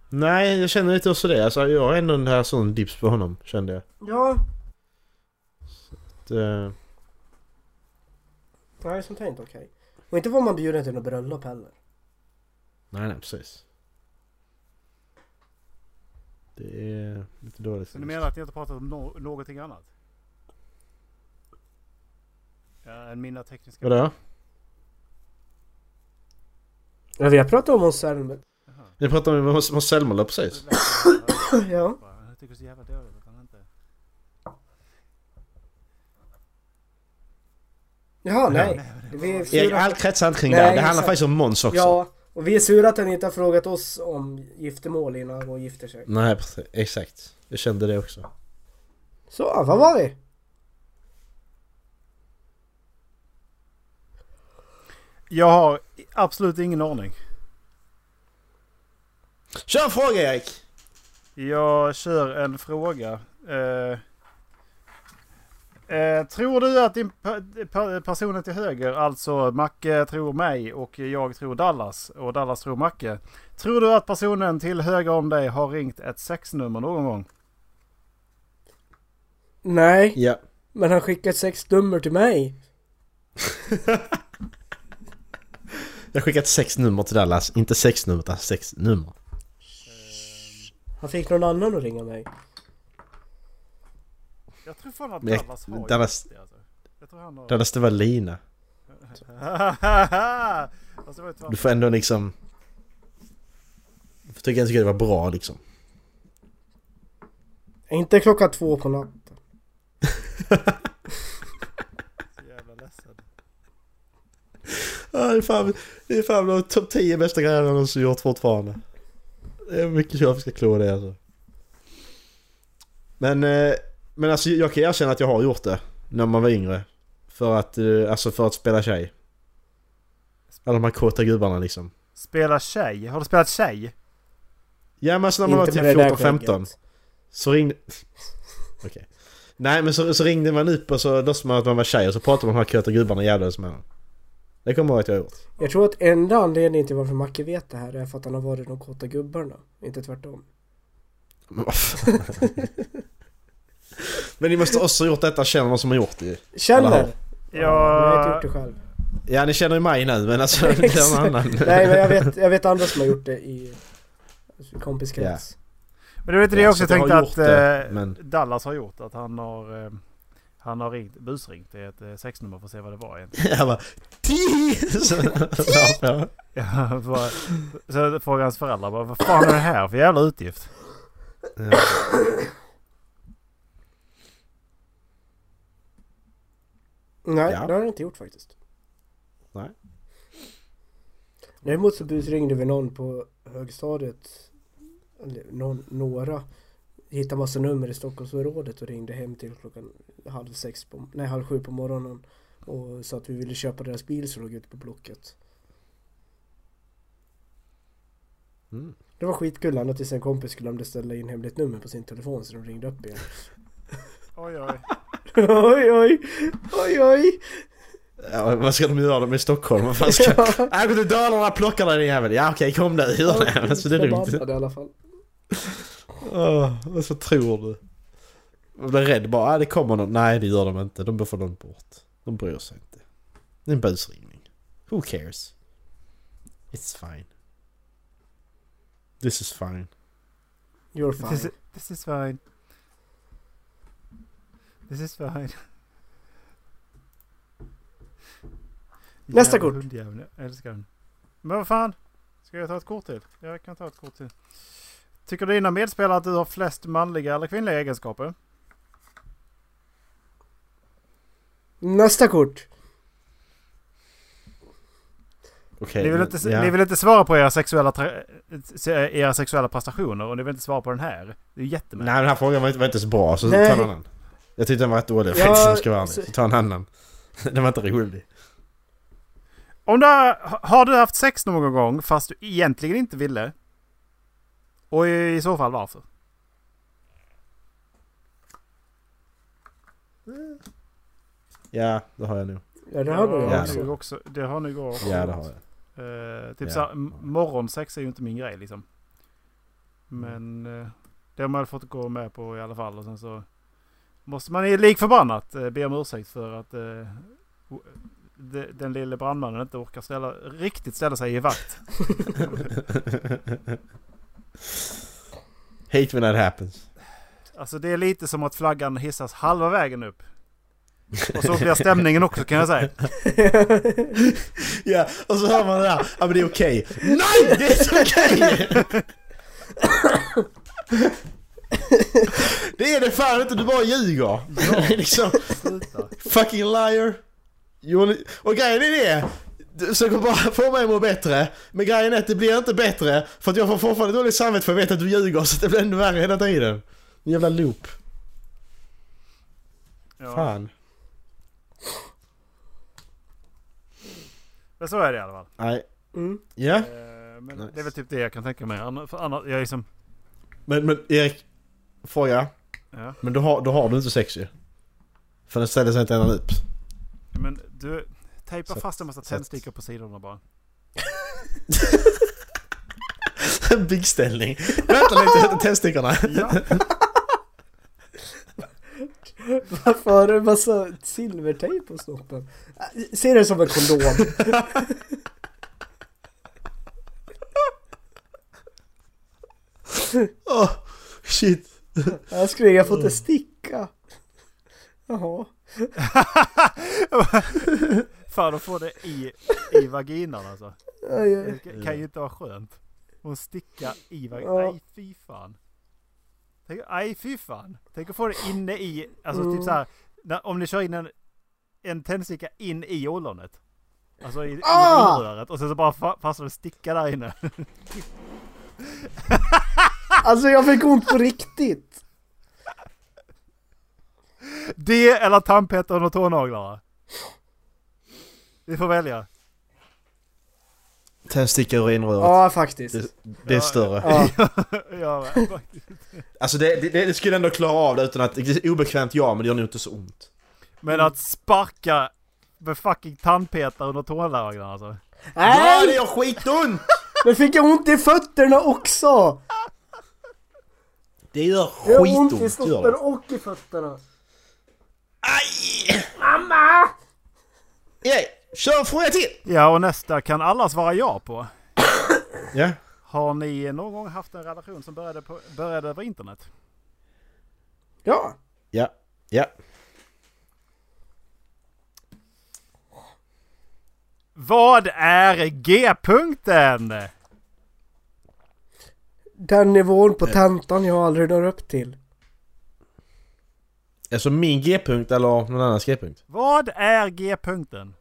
S3: Nej, jag känner lite också det. Alltså, jag har ändå den här sån dips på honom, kände jag.
S2: Ja,
S3: Att, eh,
S2: nej sånt här är inte okej. Och inte var man bjuden till något bröllop heller.
S3: nej, nej, precis. Det är lite dåligt.
S1: Så du menar att ni inte pratat om no- någonting annat? Ja, än mina tekniska...
S3: Vadå?
S2: Ja, vi har pratat om Måns Zelmerlöw.
S3: Ni pratar om Måns Måns Zelmerlöw precis.
S2: Ja.
S1: Bara, Jag tycker det är så jävla dåligt att han inte...
S2: Jaha, nej. Vi är
S3: Erik,
S2: sura.
S3: allt kretsar inte kring det.
S2: Nej,
S3: här. Det handlar
S2: exakt.
S3: faktiskt om Måns också.
S2: Ja, och vi är sura att han inte har frågat oss om giftermål innan hon gifter sig.
S3: Nej, precis. Exakt. Jag kände det också.
S2: Så, vad var vi?
S1: Jag har absolut ingen aning.
S3: Kör en fråga Erik!
S1: Jag kör en fråga. Eh, eh, tror du att din pe- pe- personen till höger, alltså Macke tror mig och jag tror Dallas och Dallas tror Macke. Tror du att personen till höger om dig har ringt ett sexnummer någon gång?
S2: Nej,
S3: Ja.
S2: men han skickade sex nummer till mig.
S3: Jag har skickat sex nummer till Dallas. Inte sex nummer, utan sex nummer.
S2: Han fick någon annan att ringa mig.
S1: Jag tror fan att
S3: Men-
S1: Dallas har
S3: Dallas-
S1: gjort det. Alltså. Jag tror han har...
S3: Dallas, det var Lina.
S1: alltså, det var ju tvärtom.
S3: Du får ändå liksom... Jag tycker jag tycker det var bra liksom.
S2: Inte klockan två på natten.
S1: Så jävla ledsen.
S3: Ja, det är fan, det är fan de topp 10 bästa grejerna de har gjort fortfarande. Det är mycket jag ska klå det alltså. Men, eh, men alltså jag kan erkänna att jag har gjort det. När man var yngre. För att, eh, alltså för att spela tjej. Alla de här kåta gubbarna liksom.
S1: Spela tjej? Har du spelat tjej?
S3: Ja men alltså när man var
S2: Inte
S3: typ
S2: med det där
S3: 14-15.
S2: skägget.
S3: Så ringde... Okej. Nej men så, så ringde man upp och så låtsades man att man var tjej och så pratade man med de här kåta gubbarna och jävlades med dem. Det kommer jag ihåg att jag har gjort.
S2: Jag tror att enda anledningen till varför Macke vet det här är för att han har varit de kåta gubbarna. Inte tvärtom.
S3: Men vad fan. Men ni måste också ha gjort detta, känner någon som har gjort det ju. Eller
S2: Känner!
S3: hur?
S2: Jag har inte gjort det
S1: Jag...
S2: själv.
S3: Ja ni känner ju mig nu men alltså det är någon annan.
S2: Nej, men jag vet, jag vet andra som har gjort det i alltså, i kompiskrets.
S1: Men det var inte det
S3: Ja,
S1: jag
S3: så
S1: också
S3: att jag
S1: tänkte
S3: har
S1: att
S3: gjort det,
S1: eh,
S3: men-
S1: Dallas har gjort. Att han har, eh, han har ringt, busringt till ett eh, sexnummer för att se vad det var egentligen.
S3: Jag bara "Ti!" Så- Ja.
S1: Ja, bara- så frågade hans föräldrar bara, vad fan är det här för jävla utgift?
S2: Nej,
S3: Ja.
S2: det har jag inte gjort faktiskt.
S3: Nej.
S2: Däremot så busringde vi någon på högstadiet. Eller någon, några. Hittade massa nummer i Stockholmsområdet och ringde hem till klockan halv sex på, nej halv sju på morgonen. Och sa att vi ville köpa deras bil som låg ute på Blocket.
S3: Mm.
S2: Det var skitkul ända tills en kompis glömde ställa in hemligt nummer på sin telefon så de ringde upp igen.
S1: Oj, oj.
S2: oj oj! Oj oj!
S3: Ja, vad ska de göra? De är i Stockholm. Vad fan ska... Jag går till Dalarna, plockar dig din jävel. Ja alltså, okej kom nu, gör det. Men Så det är lugnt.
S2: Förbannad i alla fall.
S3: Åh, Vad så tror du? Och blev rädd bara, ah, det kommer någon. Nej det gör de inte, de får någon bort. De bryr sig inte. Det är en busringning. Who cares? It's fine. This is fine.
S2: You're
S1: This,
S2: fine.
S1: is- this is fine. This is fine.
S2: Nästa
S1: Jävla
S2: kort.
S1: hundjävel, jag älskar den. Men vad fan? Ska jag ta ett kort till? Jag kan ta ett kort till. Tycker dina medspelare att du har flest manliga eller kvinnliga egenskaper?
S2: Nästa kort.
S3: Okej.
S1: ni, vill
S3: men-
S1: inte,
S3: ja.
S1: ni vill inte svara på era sexuella, tra- se- era sexuella prestationer och ni vill inte svara på den här. Det är ju jättemärkligt.
S3: Nej den här frågan var inte, var inte så bra så
S2: Nej.
S3: ta en annan. Jag tyckte den var rätt dålig
S2: Ja,
S3: faktiskt om jag ska vara ärlig.
S2: så-
S3: Så ta en annan. Den var inte rolig.
S1: Om du har, har du haft sex någon gång fast du egentligen inte ville? Och i, i så fall varför?
S3: Ja det har jag nog.
S2: Ja det har du
S1: ja,
S2: jag
S1: nog
S2: också.
S1: också. Det har nog jag också.
S3: Ja det har jag.
S1: Eh, typ
S3: Ja.
S1: såhär, m- morgonsex är ju inte min grej liksom.
S3: Mm.
S1: Men eh, det har man fått gå med på i alla fall. Och sen så måste man i lik förbannat eh, be om ursäkt för att eh, o- de, den lille brandmannen inte orkar ställa, riktigt ställa sig i vakt.
S3: Hate when that happens.
S1: Alltså det är lite som att flaggan hissas halva vägen upp. Och så blir stämningen också kan jag säga.
S3: Ja, och så hör man det där. Ja men det är okej. Nej! Det är inte okej! det är det fan inte, du bara ljuger. liksom,
S1: Sluta.
S3: fucking liar. You wanna- Och grejen är det. Du försöker bara få mig att må bättre. Men grejen är att det blir inte bättre. För att jag får fortfarande dåligt samvete för jag vet att du ljuger. Så det blir ännu värre hela tiden. En jävla loop.
S1: Ja.
S3: Fan.
S1: Men så är det i alla fall.
S3: Nej.
S2: Mm.
S3: Ja.
S1: Eh, Men
S3: Nice.
S1: det är väl typ det jag kan tänka mig. Anna- för Annars, jag är liksom...
S3: Men, men Erik, fråga.
S1: Ja.
S3: Men då har, då har du inte sex ju. För den ställer sig inte ända upp.
S1: Men du, tejpa
S3: Så-
S1: fast en massa
S3: så-
S1: tändstickor på sidorna bara.
S3: En byggställning. Vänta lite, tändstickorna.
S1: Ja,
S2: Varför har du en massa silvertejp på snoppen? Äh, Se det som en kondom.
S3: Åh, shit.
S2: Jag skulle jag fått inte sticka. Jaha.
S1: fan att få det i, i vaginan alltså.
S2: Aj,
S1: Det
S2: aj.
S1: kan ju inte vara skönt. Hon sticka i vaginan.
S2: Ja.
S1: Aj fy fan. Tänk, aj fy fan. Tänk att få det inne i, alltså
S2: Mm.
S1: typ så här, när, om ni kör in en, en tändsticka in i ollonet. Alltså i,
S2: Ah!
S1: i röret och sen så bara fa- fastnar en sticka där inne.
S2: Alltså jag fick ont på riktigt.
S1: Det eller tandpetaren och tånaglarna. Vi får välja.
S3: Tändstickor i urinröret.
S2: Ja faktiskt.
S3: Det, det är större.
S2: Ja.
S1: ja,
S3: Alltså det, det, det skulle ändå klara av det utan att... Det är obekvämt ja, men det gör nog inte så ont.
S1: Men att sparka med fucking tandpetare under tånaglarna alltså.
S3: Ja, det
S2: Nej!
S3: gör skitont!
S2: Men fick jag ont i fötterna också?
S3: Det gör
S2: Jag har ont i
S3: skitont. det gör
S2: snoppen
S3: det.
S2: och i fötterna.
S3: Aj! Mamma! Erik, kör en fråga till!
S1: Ja, och nästa kan alla svara ja på.
S3: Ja.
S1: Har ni någon gång haft en relation som började, på, började över internet?
S2: Ja.
S3: Ja. Ja.
S1: Vad är G-punkten?
S2: Den nivån på tentan jag aldrig når upp till.
S3: Alltså min G-punkt eller någon annans G-punkt?
S1: Vad är G-punkten?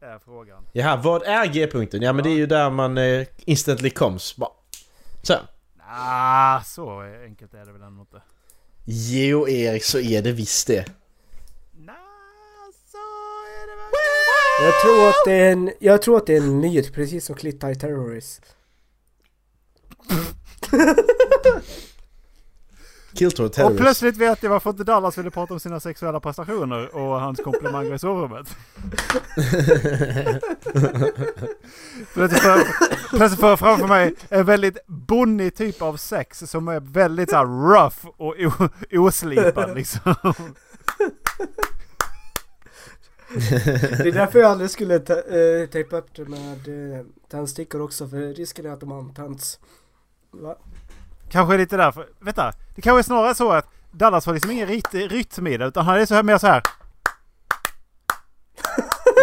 S1: Är frågan.
S3: Jaha, vad är G-punkten? Ja men det är ju där man eh, instantly comes. Bara. Så.
S1: Ah, så enkelt är det väl ändå inte.
S3: Jo Erik, så är det visst det.
S1: Nja, så är det väl.
S2: Jag tror att det är en, jag tror att det är en myt, precis som Clit Eye Terrorist.
S3: Killtoy
S1: Och
S3: Terrorist.
S1: plötsligt vet jag varför inte Dallas ville prata om sina sexuella prestationer och hans komplimanger i sovrummet. plötsligt för, plötsligt för framför mig en väldigt bonnig typ av sex som är väldigt så här rough och o- oslipad liksom.
S2: Det är därför jag aldrig skulle ta, eh, tejpa upp det med eh, tändstickor också för risken är att de antänds. Va?
S1: Kanske lite därför. Vänta, det kanske är snarare så att Dallas har liksom ingen rit- rytm i det utan han är så här, mer så här.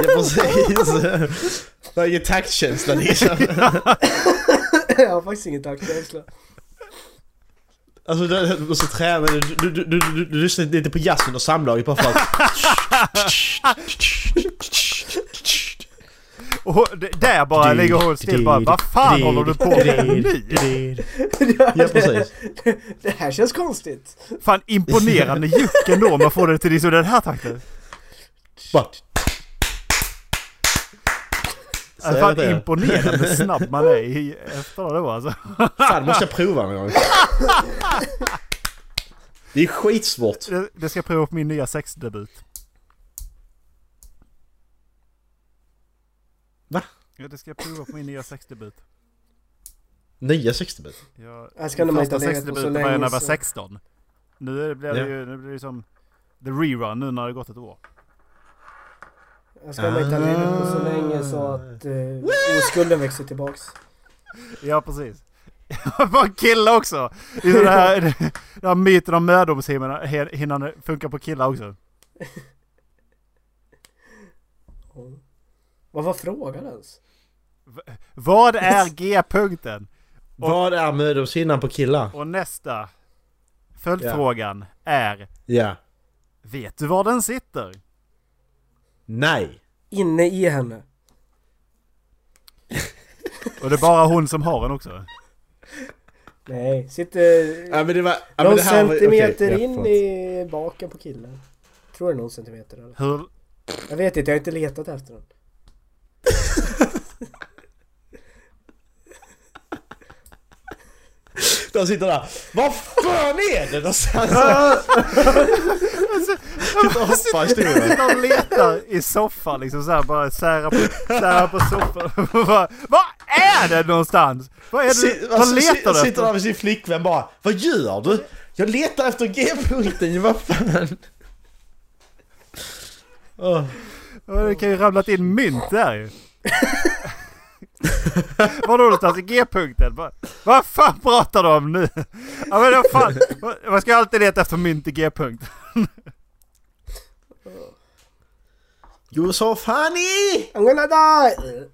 S3: Ja precis. Det är ingen taktkänsla liksom.
S2: jag har faktiskt ingen taktkänsla.
S3: Alltså du, du, och så tränar du, du, du, du, du, du lyssnar lite på jazz under samlaget bara för att...
S1: Och det- där bara ligger hon still bara. Vad fan håller du på med nu?
S3: Ja precis.
S2: det här känns konstigt.
S1: Fan imponerande juck ändå om man får det till liksom den här takten.
S3: Bara. Så
S1: Äh,
S3: är
S1: fan
S3: det.
S1: imponerande snabb man är i efter då alltså.
S3: Fan måste jag prova någon gång. Det är skitsvårt.
S1: Det, det ska jag prova på min nya sexdebut.
S3: Va?
S1: Ja, det ska jag prova på min nya sexdebut.
S3: Nya 60-bit.
S1: Jag,
S2: Här ska de
S1: min
S2: inte ha
S1: första
S2: legat på så
S1: sexdebuten var
S2: länge,
S1: jag när jag var
S2: så-
S1: 16. Nu är det- blir
S3: Ja.
S1: det ju, nu blir det ju som the rerun nu när det gått ett år.
S2: Jag ska inte ha legat på så länge så att eh, oskulden växer tillbaks.
S1: Ja, precis. Jag var en kille också! Det är så det här, den här myten om mödomshinnan funkar på killar också.
S2: Ja. Vad var frågan ens?
S1: Vad är G-punkten?
S3: Vad är mödomshinnan på killar?
S1: Och nästa följdfrågan är
S3: Ja.
S1: Vet du var den sitter?
S3: Nej.
S2: Inne i henne.
S1: Och det är bara hon som har den också.
S2: Nej, sitter
S3: Ja men det var... Ja, men
S2: någon
S3: det här var-
S2: centimeter
S3: okej, ja,
S2: in
S3: förlåt.
S2: i baken på killen. Tror det är någon centimeter eller?
S1: Hur...
S2: Jag vet inte, jag har inte letat efter den.
S3: De sitter där. Vad fan är det någonstans? Alltså- Sitter och hoppar i stolen.
S1: De letar i soffan liksom så här, bara sära på, sära på soffan. Bara, Vad är det någonstans? Vad är det?
S3: Si-
S1: Vad
S3: alltså, si-
S1: letar du
S3: Sitter där
S1: efter?
S3: med sin flickvän bara. Vad gör du? Jag letar efter G-punkten ju, vad fan. Åh.
S1: Ja, Det kan ju ramlat in mynt där ju. Var någonstans? I G-punkten? Vad, vad fan pratar du om nu? Ja, men vad fan, vad- man ska ju alltid leta efter mynt i G-punkt.
S3: You're so funny!
S2: I'm gonna die!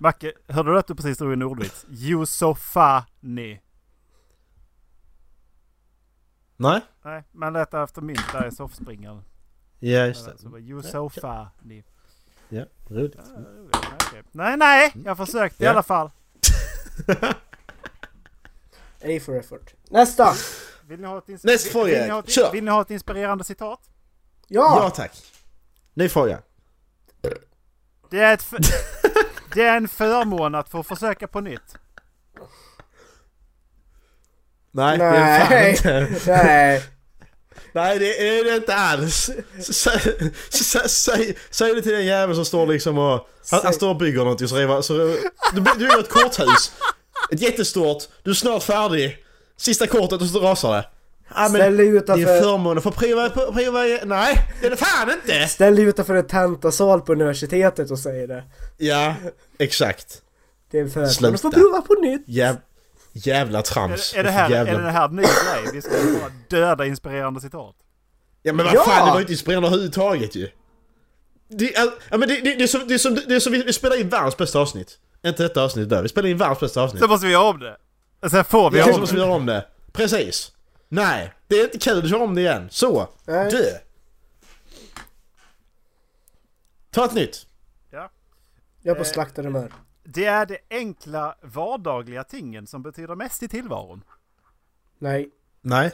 S1: Macke, hörde du att du precis drog en ordvits? You so funny.
S3: Nej.
S1: Nej, man letar efter mynt där i soffspringan.
S3: Ja, just det.
S1: Så bara, You so funny.
S3: Ja, roligt.
S1: Okej. Nej, nej! Jag försökte i
S3: Ja.
S1: alla fall.
S2: Eh, A for effort. Nästa!
S1: Vill ni ha ett, ins-
S3: Nästa fråga.
S1: vill ni ha ett,
S3: Kör.
S1: vill ni ha ett inspirerande citat?
S3: Ja,
S2: Ja!
S3: tack. Ny fråga.
S1: Det är, ett för... det är en förmån att få försöka på nytt.
S3: Nej, det är det fan
S2: Nej!
S3: inte.
S2: Nej!
S3: Nej det är det inte alls! S- Säg, s- säg, säg det till den jäveln som står liksom och... Han, han står och bygger någonting så revar... Så, du, by- du bygger ett korthus. Ett jättestort. Du är snart färdig. Sista kortet och så rasar det. Ja,
S2: Ställ dig
S3: det är en
S2: utanför,
S3: förmån att få prova... prova nej, det är det fan inte!
S2: ställ dig utanför en tentasal på universitetet och säg det.
S3: Ja, exakt.
S2: Det är en förmån
S3: Sluta.
S2: att få prova på nytt.
S3: Jäv, jävla trams.
S1: Är, är, det, här,
S3: jävla...
S1: är det här ny grej? Vi ska bara döda inspirerande citat.
S3: Ja men vad
S2: Ja!
S3: fan, det var ju inte inspirerande överhuvudtaget ju. Det, är- ja, men det, det, det är som, det är som, det är som vi, vi spelar in världens bästa avsnitt. Inte detta avsnitt där, vi spelar in världens bästa avsnitt.
S1: Så måste vi göra om det. Sen får vi göra
S3: Jag tycker
S1: om
S3: måste
S1: det.
S3: göra om det. Precis. Nej, det är inte kul att köra om det igen. Så,
S2: Nej.
S3: dö. Ta ett nytt.
S1: Ja.
S2: Jag är på slaktarhumör.
S1: Det är de enkla vardagliga tingen som betyder mest i tillvaron.
S2: Nej.
S3: Nej.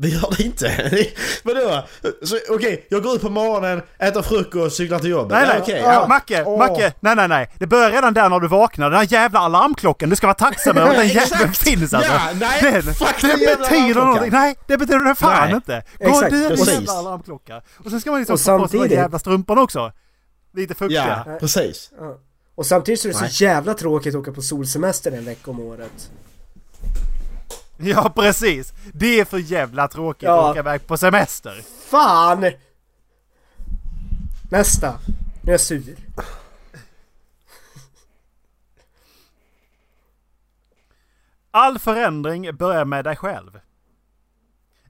S3: Det gör det inte. Vadå? Så, Okej, jag går ut på morgonen, äter frukost, cyklar till jobbet.
S1: Nej, nej.
S3: Ja, okej,
S1: ja. Macke,
S3: Åh.
S1: Macke. Nej, nej, nej. Det börjar redan där när du vaknar. Den här jävla alarmklockan. Du ska vara tacksam över att den
S3: Exakt.
S1: jäveln finns alltså.
S3: Ja, nej,
S1: det,
S3: fuck
S1: det
S3: den jävla
S1: betyder
S3: alarmklockan.
S1: någonting. Nej, det betyder det fan
S3: Nej.
S1: inte. Gå
S2: Exakt,
S1: du med
S3: precis.
S1: jävla alarmklocka. Och sen ska man liksom
S2: Och
S1: få på sig de
S2: samtidigt-
S1: jävla strumporna också. Lite fuktiga.
S3: Ja, precis.
S2: Ja. Och samtidigt så är det
S3: Nej.
S2: så jävla tråkigt att åka på solsemester en vecka om året.
S1: Ja, precis. Det är för jävla tråkigt
S2: Ja.
S1: att åka iväg på semester.
S2: Fan! Nästa! Nu är jag sur.
S1: All förändring börjar med dig själv.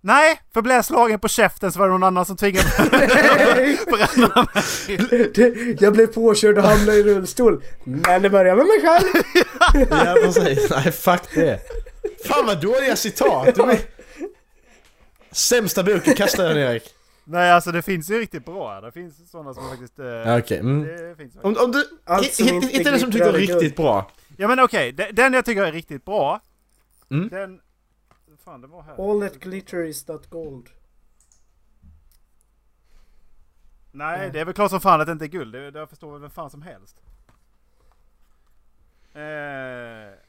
S1: Nej, för blev jag slagen på käften så var det någon annan som tvingade förändra mig.
S2: Det- jag blev påkörd och hamnade i rullstol. Men det börjar med mig själv.
S3: Ja, precis. Nej, fuck det. Fan vad dåliga citat. De är... Sämsta boken kastar jag ner Erik.
S1: Nej, alltså det finns ju riktigt bra. Det finns sådana som faktiskt... eh,
S3: Ja, Okej. Mm.
S1: Det finns faktiskt.
S3: Om, om du...
S2: Allt som
S3: hit-
S2: inte
S3: Hitta den som tycker
S2: glittrar
S3: är
S2: är guld.
S3: riktigt bra.
S1: Ja men okej, de- den jag tycker är riktigt bra.
S3: Mm.
S1: Den... Fan, den var här.
S2: All that glitter is not gold.
S1: Nej, det är väl klart som fan att det inte är guld. Det, det förstår väl vem fan som helst. Eh...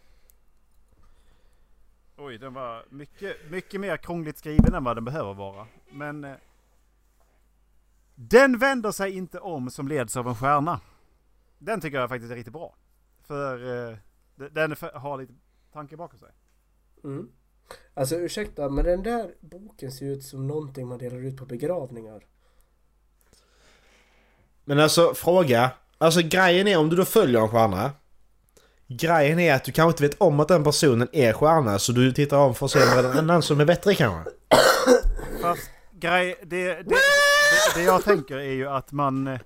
S1: Oj, den var mycket, mycket mer krångligt skriven än vad den behöver vara. Men... Eh... Den vänder sig inte om som leds av en stjärna. Den tycker jag faktiskt är riktigt bra. För eh, de- den är för, har lite tanke bakom sig.
S2: Mm. Alltså ursäkta, men den där boken ser ut som någonting man delar ut på begravningar.
S3: Men alltså fråga. Alltså grejen är om du då följer en stjärna. Grejen är att du kanske inte vet om att den personen är stjärna så du tittar om för att se om det är en annan som är bättre kanske.
S1: Fast grej, det, det, det, det jag tänker är ju att man... eh,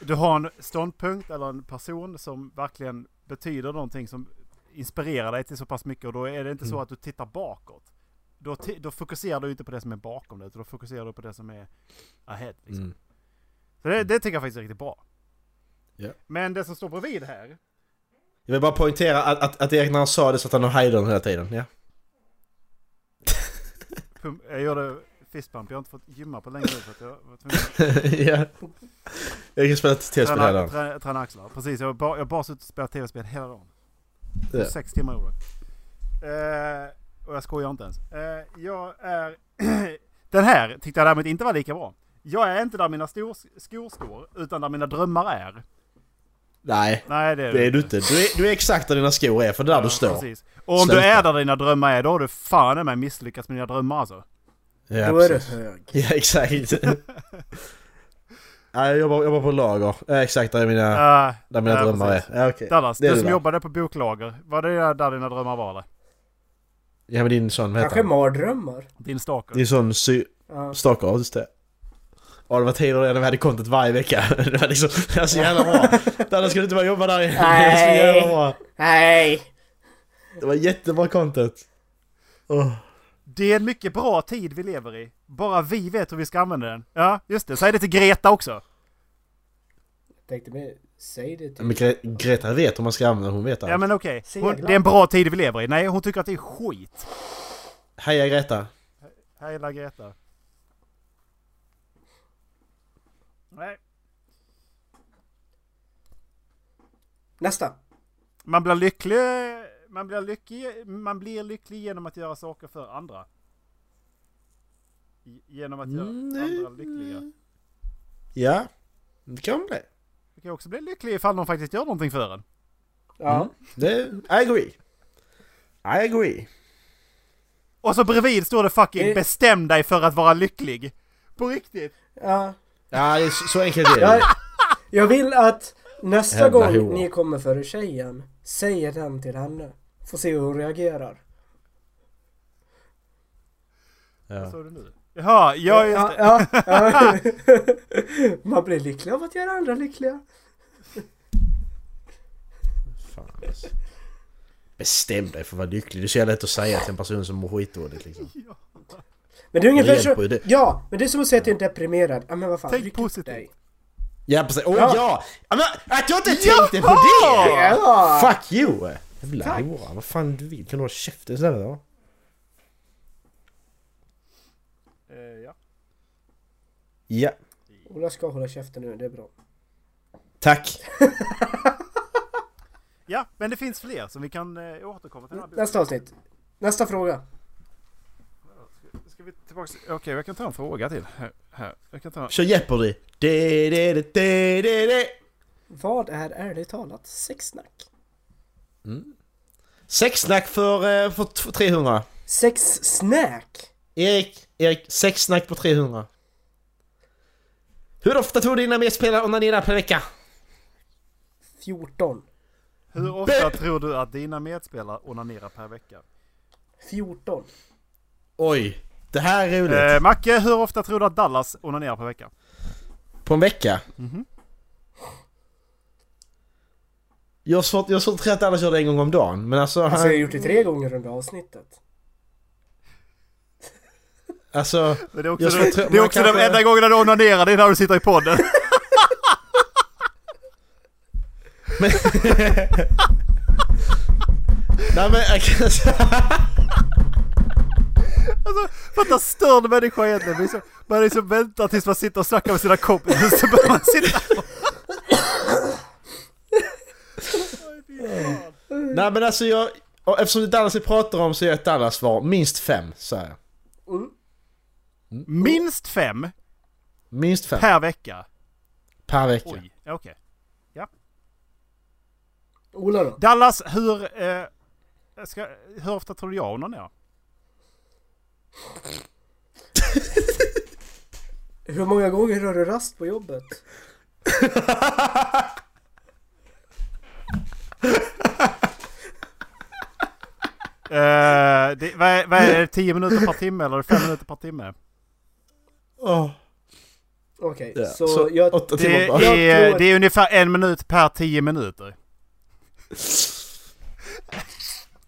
S1: Du har en ståndpunkt eller en person som verkligen betyder någonting som inspirerar dig till så pass mycket och då är det inte
S3: Mm.
S1: så att du tittar bakåt. Då, ti- då fokuserar du inte på det som är bakom dig utan då fokuserar du på det som är ahead. Liksom.
S3: Mm.
S1: Så det, det tycker jag faktiskt är riktigt bra.
S3: Ja.
S1: Men det som står bredvid här,
S3: Jag vill bara poängtera att, att, att Erik när han sa det så att han har hajden hela tiden. Ja.
S1: pum- jag gjorde fistbump, jag har inte fått gymma på länge nu så att jag var tvungen att
S3: ja. Erik har spelat tv-spel hela
S1: träna,
S3: dagen.
S1: träna, träna axlar. Precis, jag har bara, jag har bara suttit och spelat tv-spel hela dagen.
S3: Ja.
S1: Sex timmar gjorde jag. eh, Och jag skojar inte ens. Eh, jag är... Den här tyckte jag däremot inte var lika bra. Jag är inte där mina stor, skor står, utan där mina drömmar är.
S3: Nej,
S1: Nej, det är,
S3: det är du inte. Du är, du är exakt där dina skor är, för det är där du står.
S1: Precis. Och om du
S3: Sluta.
S1: är där dina drömmar är, då har du fan i mig misslyckats med dina drömmar alltså.
S3: Ja,
S2: Då är du
S3: precis.
S2: hög.
S3: Ja, exakt. Nej, jag jobbar, jag jobbar på lager. Ja, Exakt där mina,
S1: Ja.
S3: där mina
S1: ja,
S3: drömmar
S1: Eh, precis.
S3: är. Ja, okej.
S1: Dallas,
S3: Det är
S1: du
S3: du
S1: som
S3: där.
S1: jobbade på boklager, var det där dina drömmar var eller?
S3: Ja, men din sån, vad heter
S2: Kanske
S3: han?
S2: mardrömmar?
S1: Din stalker?
S3: Din sån sy...
S2: Ja.
S3: Stalker, just det. Ja, det var tider när vi hade content varje vecka. Det var liksom, det var så jävla bra. Dallas skulle inte bara jobba där igen. Det var så jävla bra.
S2: Nej!
S3: Det var jättebra content. Åh.
S1: Det är en mycket bra tid vi lever i. Bara vi vet hur vi ska använda den. Ja, just det. Säg det till Greta också.
S2: Tänkte mig, säg det till...
S3: Men Gre- Greta vet hur man ska använda, hon vet allt.
S1: Ja, men okej.
S2: Segla.
S1: Hon- Det är en bra tid vi lever i. Nej, hon tycker att det är skit.
S3: Heja Greta!
S1: Här gillar Greta. Nej.
S2: Nästa!
S1: Man blir lycklig... Man blir lycklig, man blir lycklig genom att göra saker för andra. Ge- Genom att göra andra lyckliga.
S3: Ja, det kan man bli.
S1: Du kan också bli lycklig ifall någon faktiskt gör någonting för en.
S2: Ja.
S3: Mm. Det, I agree. I agree.
S1: Och så bredvid står det fucking
S2: Eh.
S1: bestäm dig för att vara lycklig. På riktigt.
S2: ja.
S3: Ja, det är så, så enkelt är
S2: Jag,
S3: det.
S2: jag vill att nästa
S3: Jävla
S2: gång
S3: hora.
S2: ni kommer före tjejen, säger den till henne. Får se hur hon reagerar.
S1: Vad sa du nu? Jaha, ja just det.
S2: Ja, ja, ja. Man blir lycklig av att göra andra lyckliga.
S3: Fan, alltså. Bestäm dig för att vara lycklig. Det är så jävla lätt att säga till en person som mår skitdåligt liksom.
S2: Men det är ungefär
S3: Det hjälper ju
S2: så...
S3: det.
S2: Ja, men det är som att säga att du inte är deprimerad. Ja, men vad fan,
S1: Tänk
S2: ryck upp
S1: positivt.
S2: dig.
S3: Ja, precis. Åh ja!
S2: Ja.
S3: Ja, men, att jag inte tänkte på det!
S2: Ja!
S3: Fuck you! Jävla hora. Vad fan du vill. Kan du ha käften istället då? Ja,
S2: Ola ska hålla käften nu, det är bra.
S3: tack.
S1: Ja, men det finns fler som vi kan eh, återkomma till. Den här bilden.
S2: Nästa avsnitt. Nästa fråga.
S1: Ska vi tillbaka? Okej, jag kan ta en fråga till. Här, här. Jag kan ta...
S3: Kör Jeopardy. De, de, de, de, de, de.
S2: Vad är ärligt talat sexsnack?
S3: Sexsnack för, eh, för t- 300.
S2: Sexsnack?
S3: Erik, Erik, sexsnack på 300. Hur ofta tror du dina medspelare onanerar per vecka?
S2: 14.
S1: Hur ofta tror du att dina medspelare onanerar per vecka?
S2: 14.
S3: Oj, det här är roligt.
S1: Eh, Macke, hur ofta tror du att Dallas onanerar per vecka?
S3: På en vecka?
S1: Mhm.
S3: Jag har svårt, jag har svårt att tro att alla kör det en gång om dagen, men alltså...
S2: Alltså jag har
S3: han,
S2: gjort det tre gånger under avsnittet.
S3: alltså
S1: Det är också,
S3: Jag
S1: det,
S3: tror-
S1: det är
S3: man
S1: också
S3: kanske-
S1: den enda gången när du onanerar, det är när du sitter i podden.
S3: men, Nej men jag kan säga...
S1: Fatta störd människa egentligen. Man är så- Man är så väntar tills man sitter och snackar med sina kompisar så börjar man sitta...
S3: Nej men alltså jag... och Eftersom det är Dallas vi pratar om så är ett Dallas svar minst fem, säger jag.
S1: Minst fem
S3: Minst fem
S1: per vecka.
S3: per vecka.
S1: Oj, okej.
S2: Ola då?
S1: Dallas, hur... Eh, ska, hur ofta tror du jag onanerar?
S2: Hur många gånger har du rast på jobbet?
S1: Eh, det, vad, är, vad är det? 10 minuter per timme eller 5 minuter per timme?
S3: Åh.
S2: Okej,
S3: Ja,
S2: så, jag...
S3: åtta
S1: Det
S3: timmar bara.
S2: Jag
S1: är,
S2: tror-
S1: det är ungefär en minut per 10 minuter.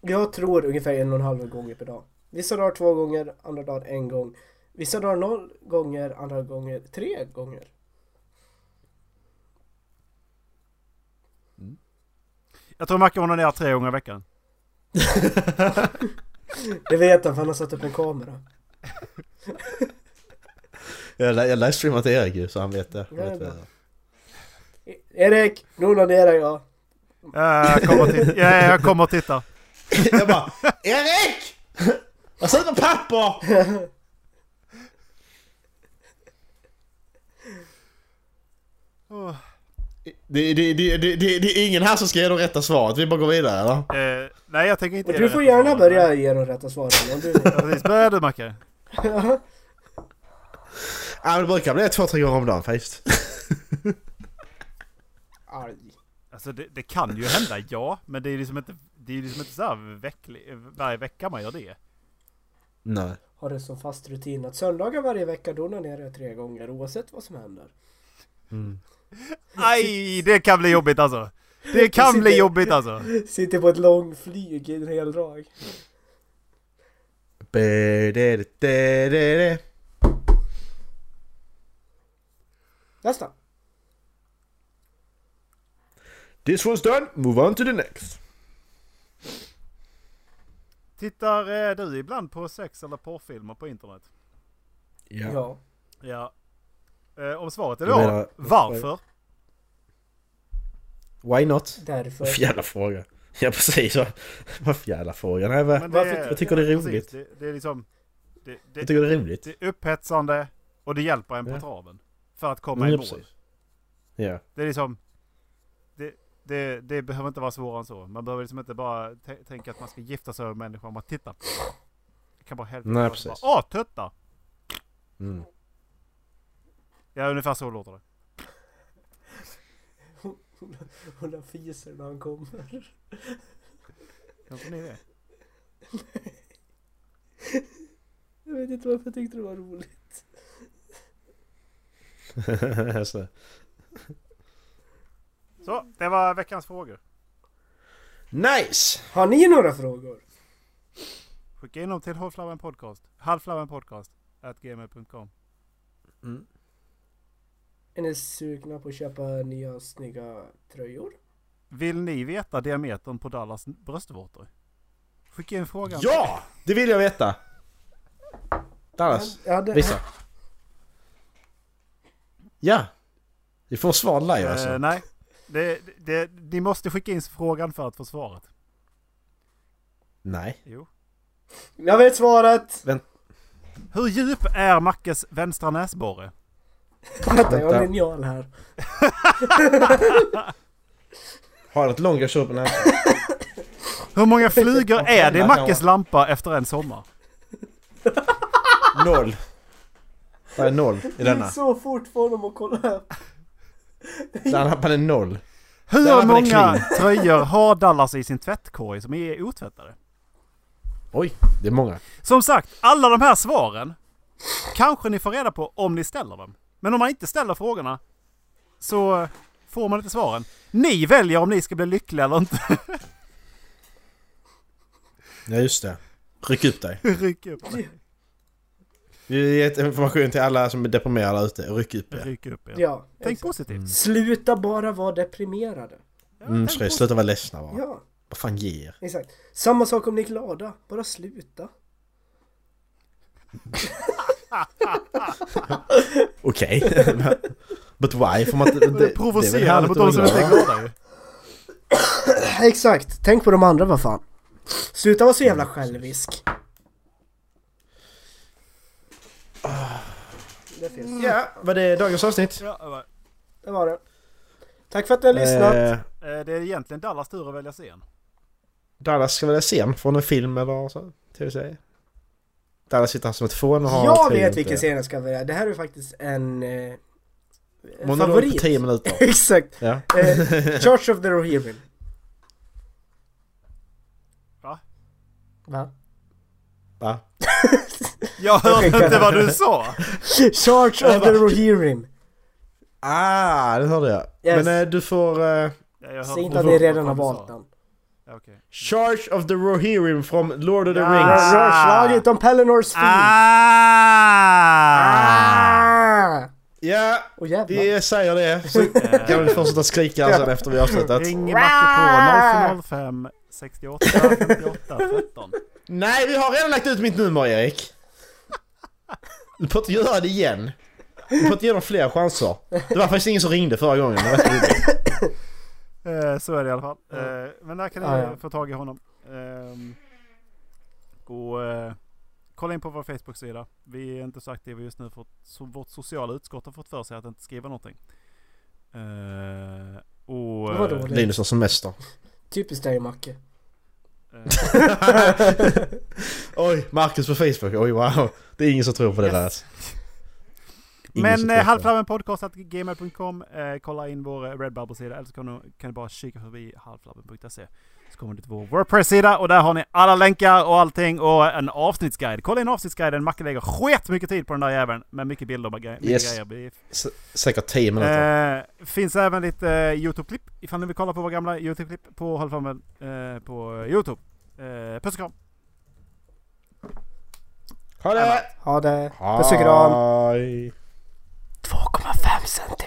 S2: Jag tror ungefär en och en halv gånger per dag. Vissa dagar två gånger, andra dagar en gång. Vissa dagar noll gånger, andra gånger tre gånger.
S1: Jag tror Macke onanerar tre gånger i veckan.
S2: Det vet han för han har satt upp en kamera.
S3: Jag, li- jag livestreamar till Erik ju så han vet det. Han vet
S2: Ja,
S3: det.
S2: E- Erik, nu onanerar jag.
S1: Eh, jag, kommer och titta. Ja, jag kommer och tittar.
S3: Jag bara Erik! Jag satt på papper!
S2: Oh.
S1: Åh.
S3: Det, det, det, det, det, det är ingen här som ska ge de rätta svaret, vi bara går vidare eller?
S1: Eh, nej, jag tänker inte ge
S2: Men du
S1: det
S2: får
S1: rätta
S2: gärna
S1: svaret.
S2: börja ge de rätta svaren om du vill.
S1: Ja, Precis, börja du Macke.
S3: Ja men det brukar bli två, tre gånger om dagen faktiskt.
S2: Arg.
S1: Alltså det, det kan ju hända, ja. Men det är ju liksom inte, det är ju liksom inte så här vecklig, varje vecka man gör det.
S3: Nej.
S2: Har det som fast rutin att söndagar varje vecka då onanerar jag tre gånger oavsett vad som händer.
S1: Aj, det kan bli jobbigt alltså. Det kan bli jobbigt alltså.
S2: Sitter på ett långflyg i en hel dag.
S3: Be- de- de- de- de- de.
S2: Nästa!
S3: This one's done, move on to the next.
S1: Tittar eh, du ibland på sex eller porrfilmer på internet?
S3: Ja.
S2: Ja.
S1: Ja. Eh, om svaret är
S3: Jag
S1: ja,
S3: menar-
S1: varför?
S3: Why not?
S2: Därför.
S3: Vad för jävla fråga? Ja precis, vad vad för jävla fråga? Nej,
S1: Men
S3: vad,
S2: Varför-
S3: jag tycker det är
S1: ja, precis.
S3: roligt.
S1: Det, det är liksom... Det,
S3: jag
S1: det,
S3: tycker det är roligt.
S1: det är upphetsande och det hjälper en på
S3: Ja.
S1: traven. För att komma
S3: Ja,
S1: i mål.
S3: precis. Ja.
S1: Det är liksom... Det, det, det behöver inte vara svårare än så. Man behöver liksom inte bara tä- tänka att man ska gifta sig med människan man tittar på. Det kan bara hälften
S3: Nej,
S1: vara
S3: precis.
S1: bara, Åh, tuttar!
S3: Mm.
S1: Ja, ungefär så låter det.
S2: Hon där fiser när han kommer.
S1: Hörde ni det?
S2: Jag vet inte varför jag tyckte det var roligt.
S3: Så.
S1: Så, det var veckans frågor.
S3: nice!
S2: Har ni några frågor?
S1: Skicka in dem till Halflabben Podcast. Halflabben Podcast. At gmail.com.
S2: Är ni sugna på att köpa nya snygga tröjor?
S1: Vill ni veta diametern på Dallas bröstvårtor? Skicka in frågan.
S3: Ja! Det vill jag veta! Dallas,
S2: Jag hade,
S3: visa. Ja! Vi får svar live alltså.
S1: Eh, nej. Det, det, ni måste skicka in frågan för att få svaret.
S3: Nej.
S1: Jo.
S2: Jag vet svaret!
S1: Hur djup är Mackes vänstra näsborre?
S2: Vänta, jag har
S3: Vänta.
S2: linjal här.
S3: Har han ett långt jag kör på den här?
S1: Hur många flugor är det i Mackes lampa efter en sommar?
S3: Noll. Det är noll i
S2: Det gick
S3: denna.
S2: så fort för honom att kolla här.
S3: Den här hade noll.
S1: Hur
S3: Där var det
S1: många tröjor har Dallas i sin tvättkorg som är otvättade?
S3: Oj, det är många.
S1: Som sagt, alla de här svaren kanske ni får reda på om ni ställer dem. Men om man inte ställer frågorna så får man inte svaren. Ni väljer om ni ska bli lyckliga eller inte.
S3: Ja just det. Ryck upp dig.
S1: Ryck upp er.
S3: Vi ger information till alla som är deprimerade ute. Ryck upp er.
S1: Ryck upp er.
S2: Ja.
S1: Tänk
S2: exakt.
S1: positivt.
S2: Sluta bara vara deprimerade.
S1: Ja,
S3: Mm,
S1: tänk
S3: Frej,
S1: positivt.
S3: sluta vara ledsna bara.
S2: Ja,
S3: Vad fan ger er?
S2: exakt. Samma sak om ni är glada. Bara sluta.
S3: Okej. But why? Får man inte... Det, det är väl
S1: Provocerande
S3: härligt
S1: mot
S3: att
S1: de som
S3: vara
S1: inte är
S3: glad, va?
S1: glada ju.
S2: Exakt. Tänk på de andra, vad fan. Sluta vara så jävla
S3: Mm,
S2: självisk. Det finns.
S3: Ja, var det dagens avsnitt?
S1: Ja,
S2: Det var det. Tack för att ni har lyssnat.
S3: Eh,
S1: eh, det är egentligen Dallas tur att välja scen.
S3: Dallas ska välja scen från en film eller så. Tv-serie. Dallas sitter här som ett fån och har...
S2: jag
S3: tur
S2: vet
S3: inte.
S2: vilken serie jag ska välja. Det här är faktiskt en... Eh,
S3: Monolog på 10 minuter.
S2: Exakt.
S3: Ja.
S2: Eh, Church of the Rohirrim.
S1: Va?
S2: Va?
S3: Va?
S1: Jag hörde
S2: skickar
S1: inte
S2: den.
S1: vad du sa!
S2: Church of the Rohirrim.
S3: Ah, det hörde jag.
S2: Yes.
S3: Men eh, du får... eh,
S1: Ja, jag hörde
S2: Säg inte
S1: vad du-
S2: att ni redan har
S1: vad du
S2: valt
S1: sa.
S2: den.
S1: Ja, okej.
S3: Charge of the Rohirrim from Lord of the
S1: Ja.
S3: Rings.
S1: Ah.
S2: Slaget om Pelennors fin.
S1: Ah!
S2: Ah!
S3: Ja,
S2: Och jävlar.
S3: vi säger det. Så kan vi fortsätta skrika här sen efter vi har avslutat.
S1: Ring Macke på 005 68 58 13.
S3: Nej, vi har redan lagt ut mitt nummer Erik. Du får inte göra det igen. Du får inte ge dem fler chanser. Det var faktiskt ingen som ringde förra gången. Det var inte roligt.
S1: Eh, så är det i alla fall. Eh, men där kan ni
S2: Ja, ja.
S1: få tag i honom. Ehm, och eh, kolla in på vår Facebook-sida. Vi är inte så aktiva just nu för att so vårt sociala utskott har fått för sig att inte skriva någonting. Eh, och...
S2: Det var dåligt.
S3: Linus har semester.
S2: Typiskt dig Macke.
S1: eh,
S3: Oj, Marcus på Facebook. Oj wow. Det är ingen som tror på det
S1: Yes.
S3: där. Ingen
S1: Men
S3: som tror på
S1: eh,
S3: det.
S1: halvflabbenpodcast.gmail.com eh, Kolla in vår eh, Redbubble-sida eller så kan du, kan du bara kika förbi halvflabben.se Så kommer du till vår Wordpress-sida och där har ni alla länkar och allting och en avsnittsguide. Kolla in avsnittsguiden, Macke lägger sketmycket mycket tid på den där jäveln med mycket bilder och mycket
S3: Yes.
S1: grejer. Vi-
S3: S- Säkert 10 minuter.
S1: Eh, finns även lite eh, YouTube-klipp ifall ni vill kolla på våra gamla YouTube-klipp på halvflabben eh, på YouTube. Eh, puss och kram!
S3: Ha det!
S2: Ha det. Puss och kram.
S3: Hej!
S2: 2,5 cent.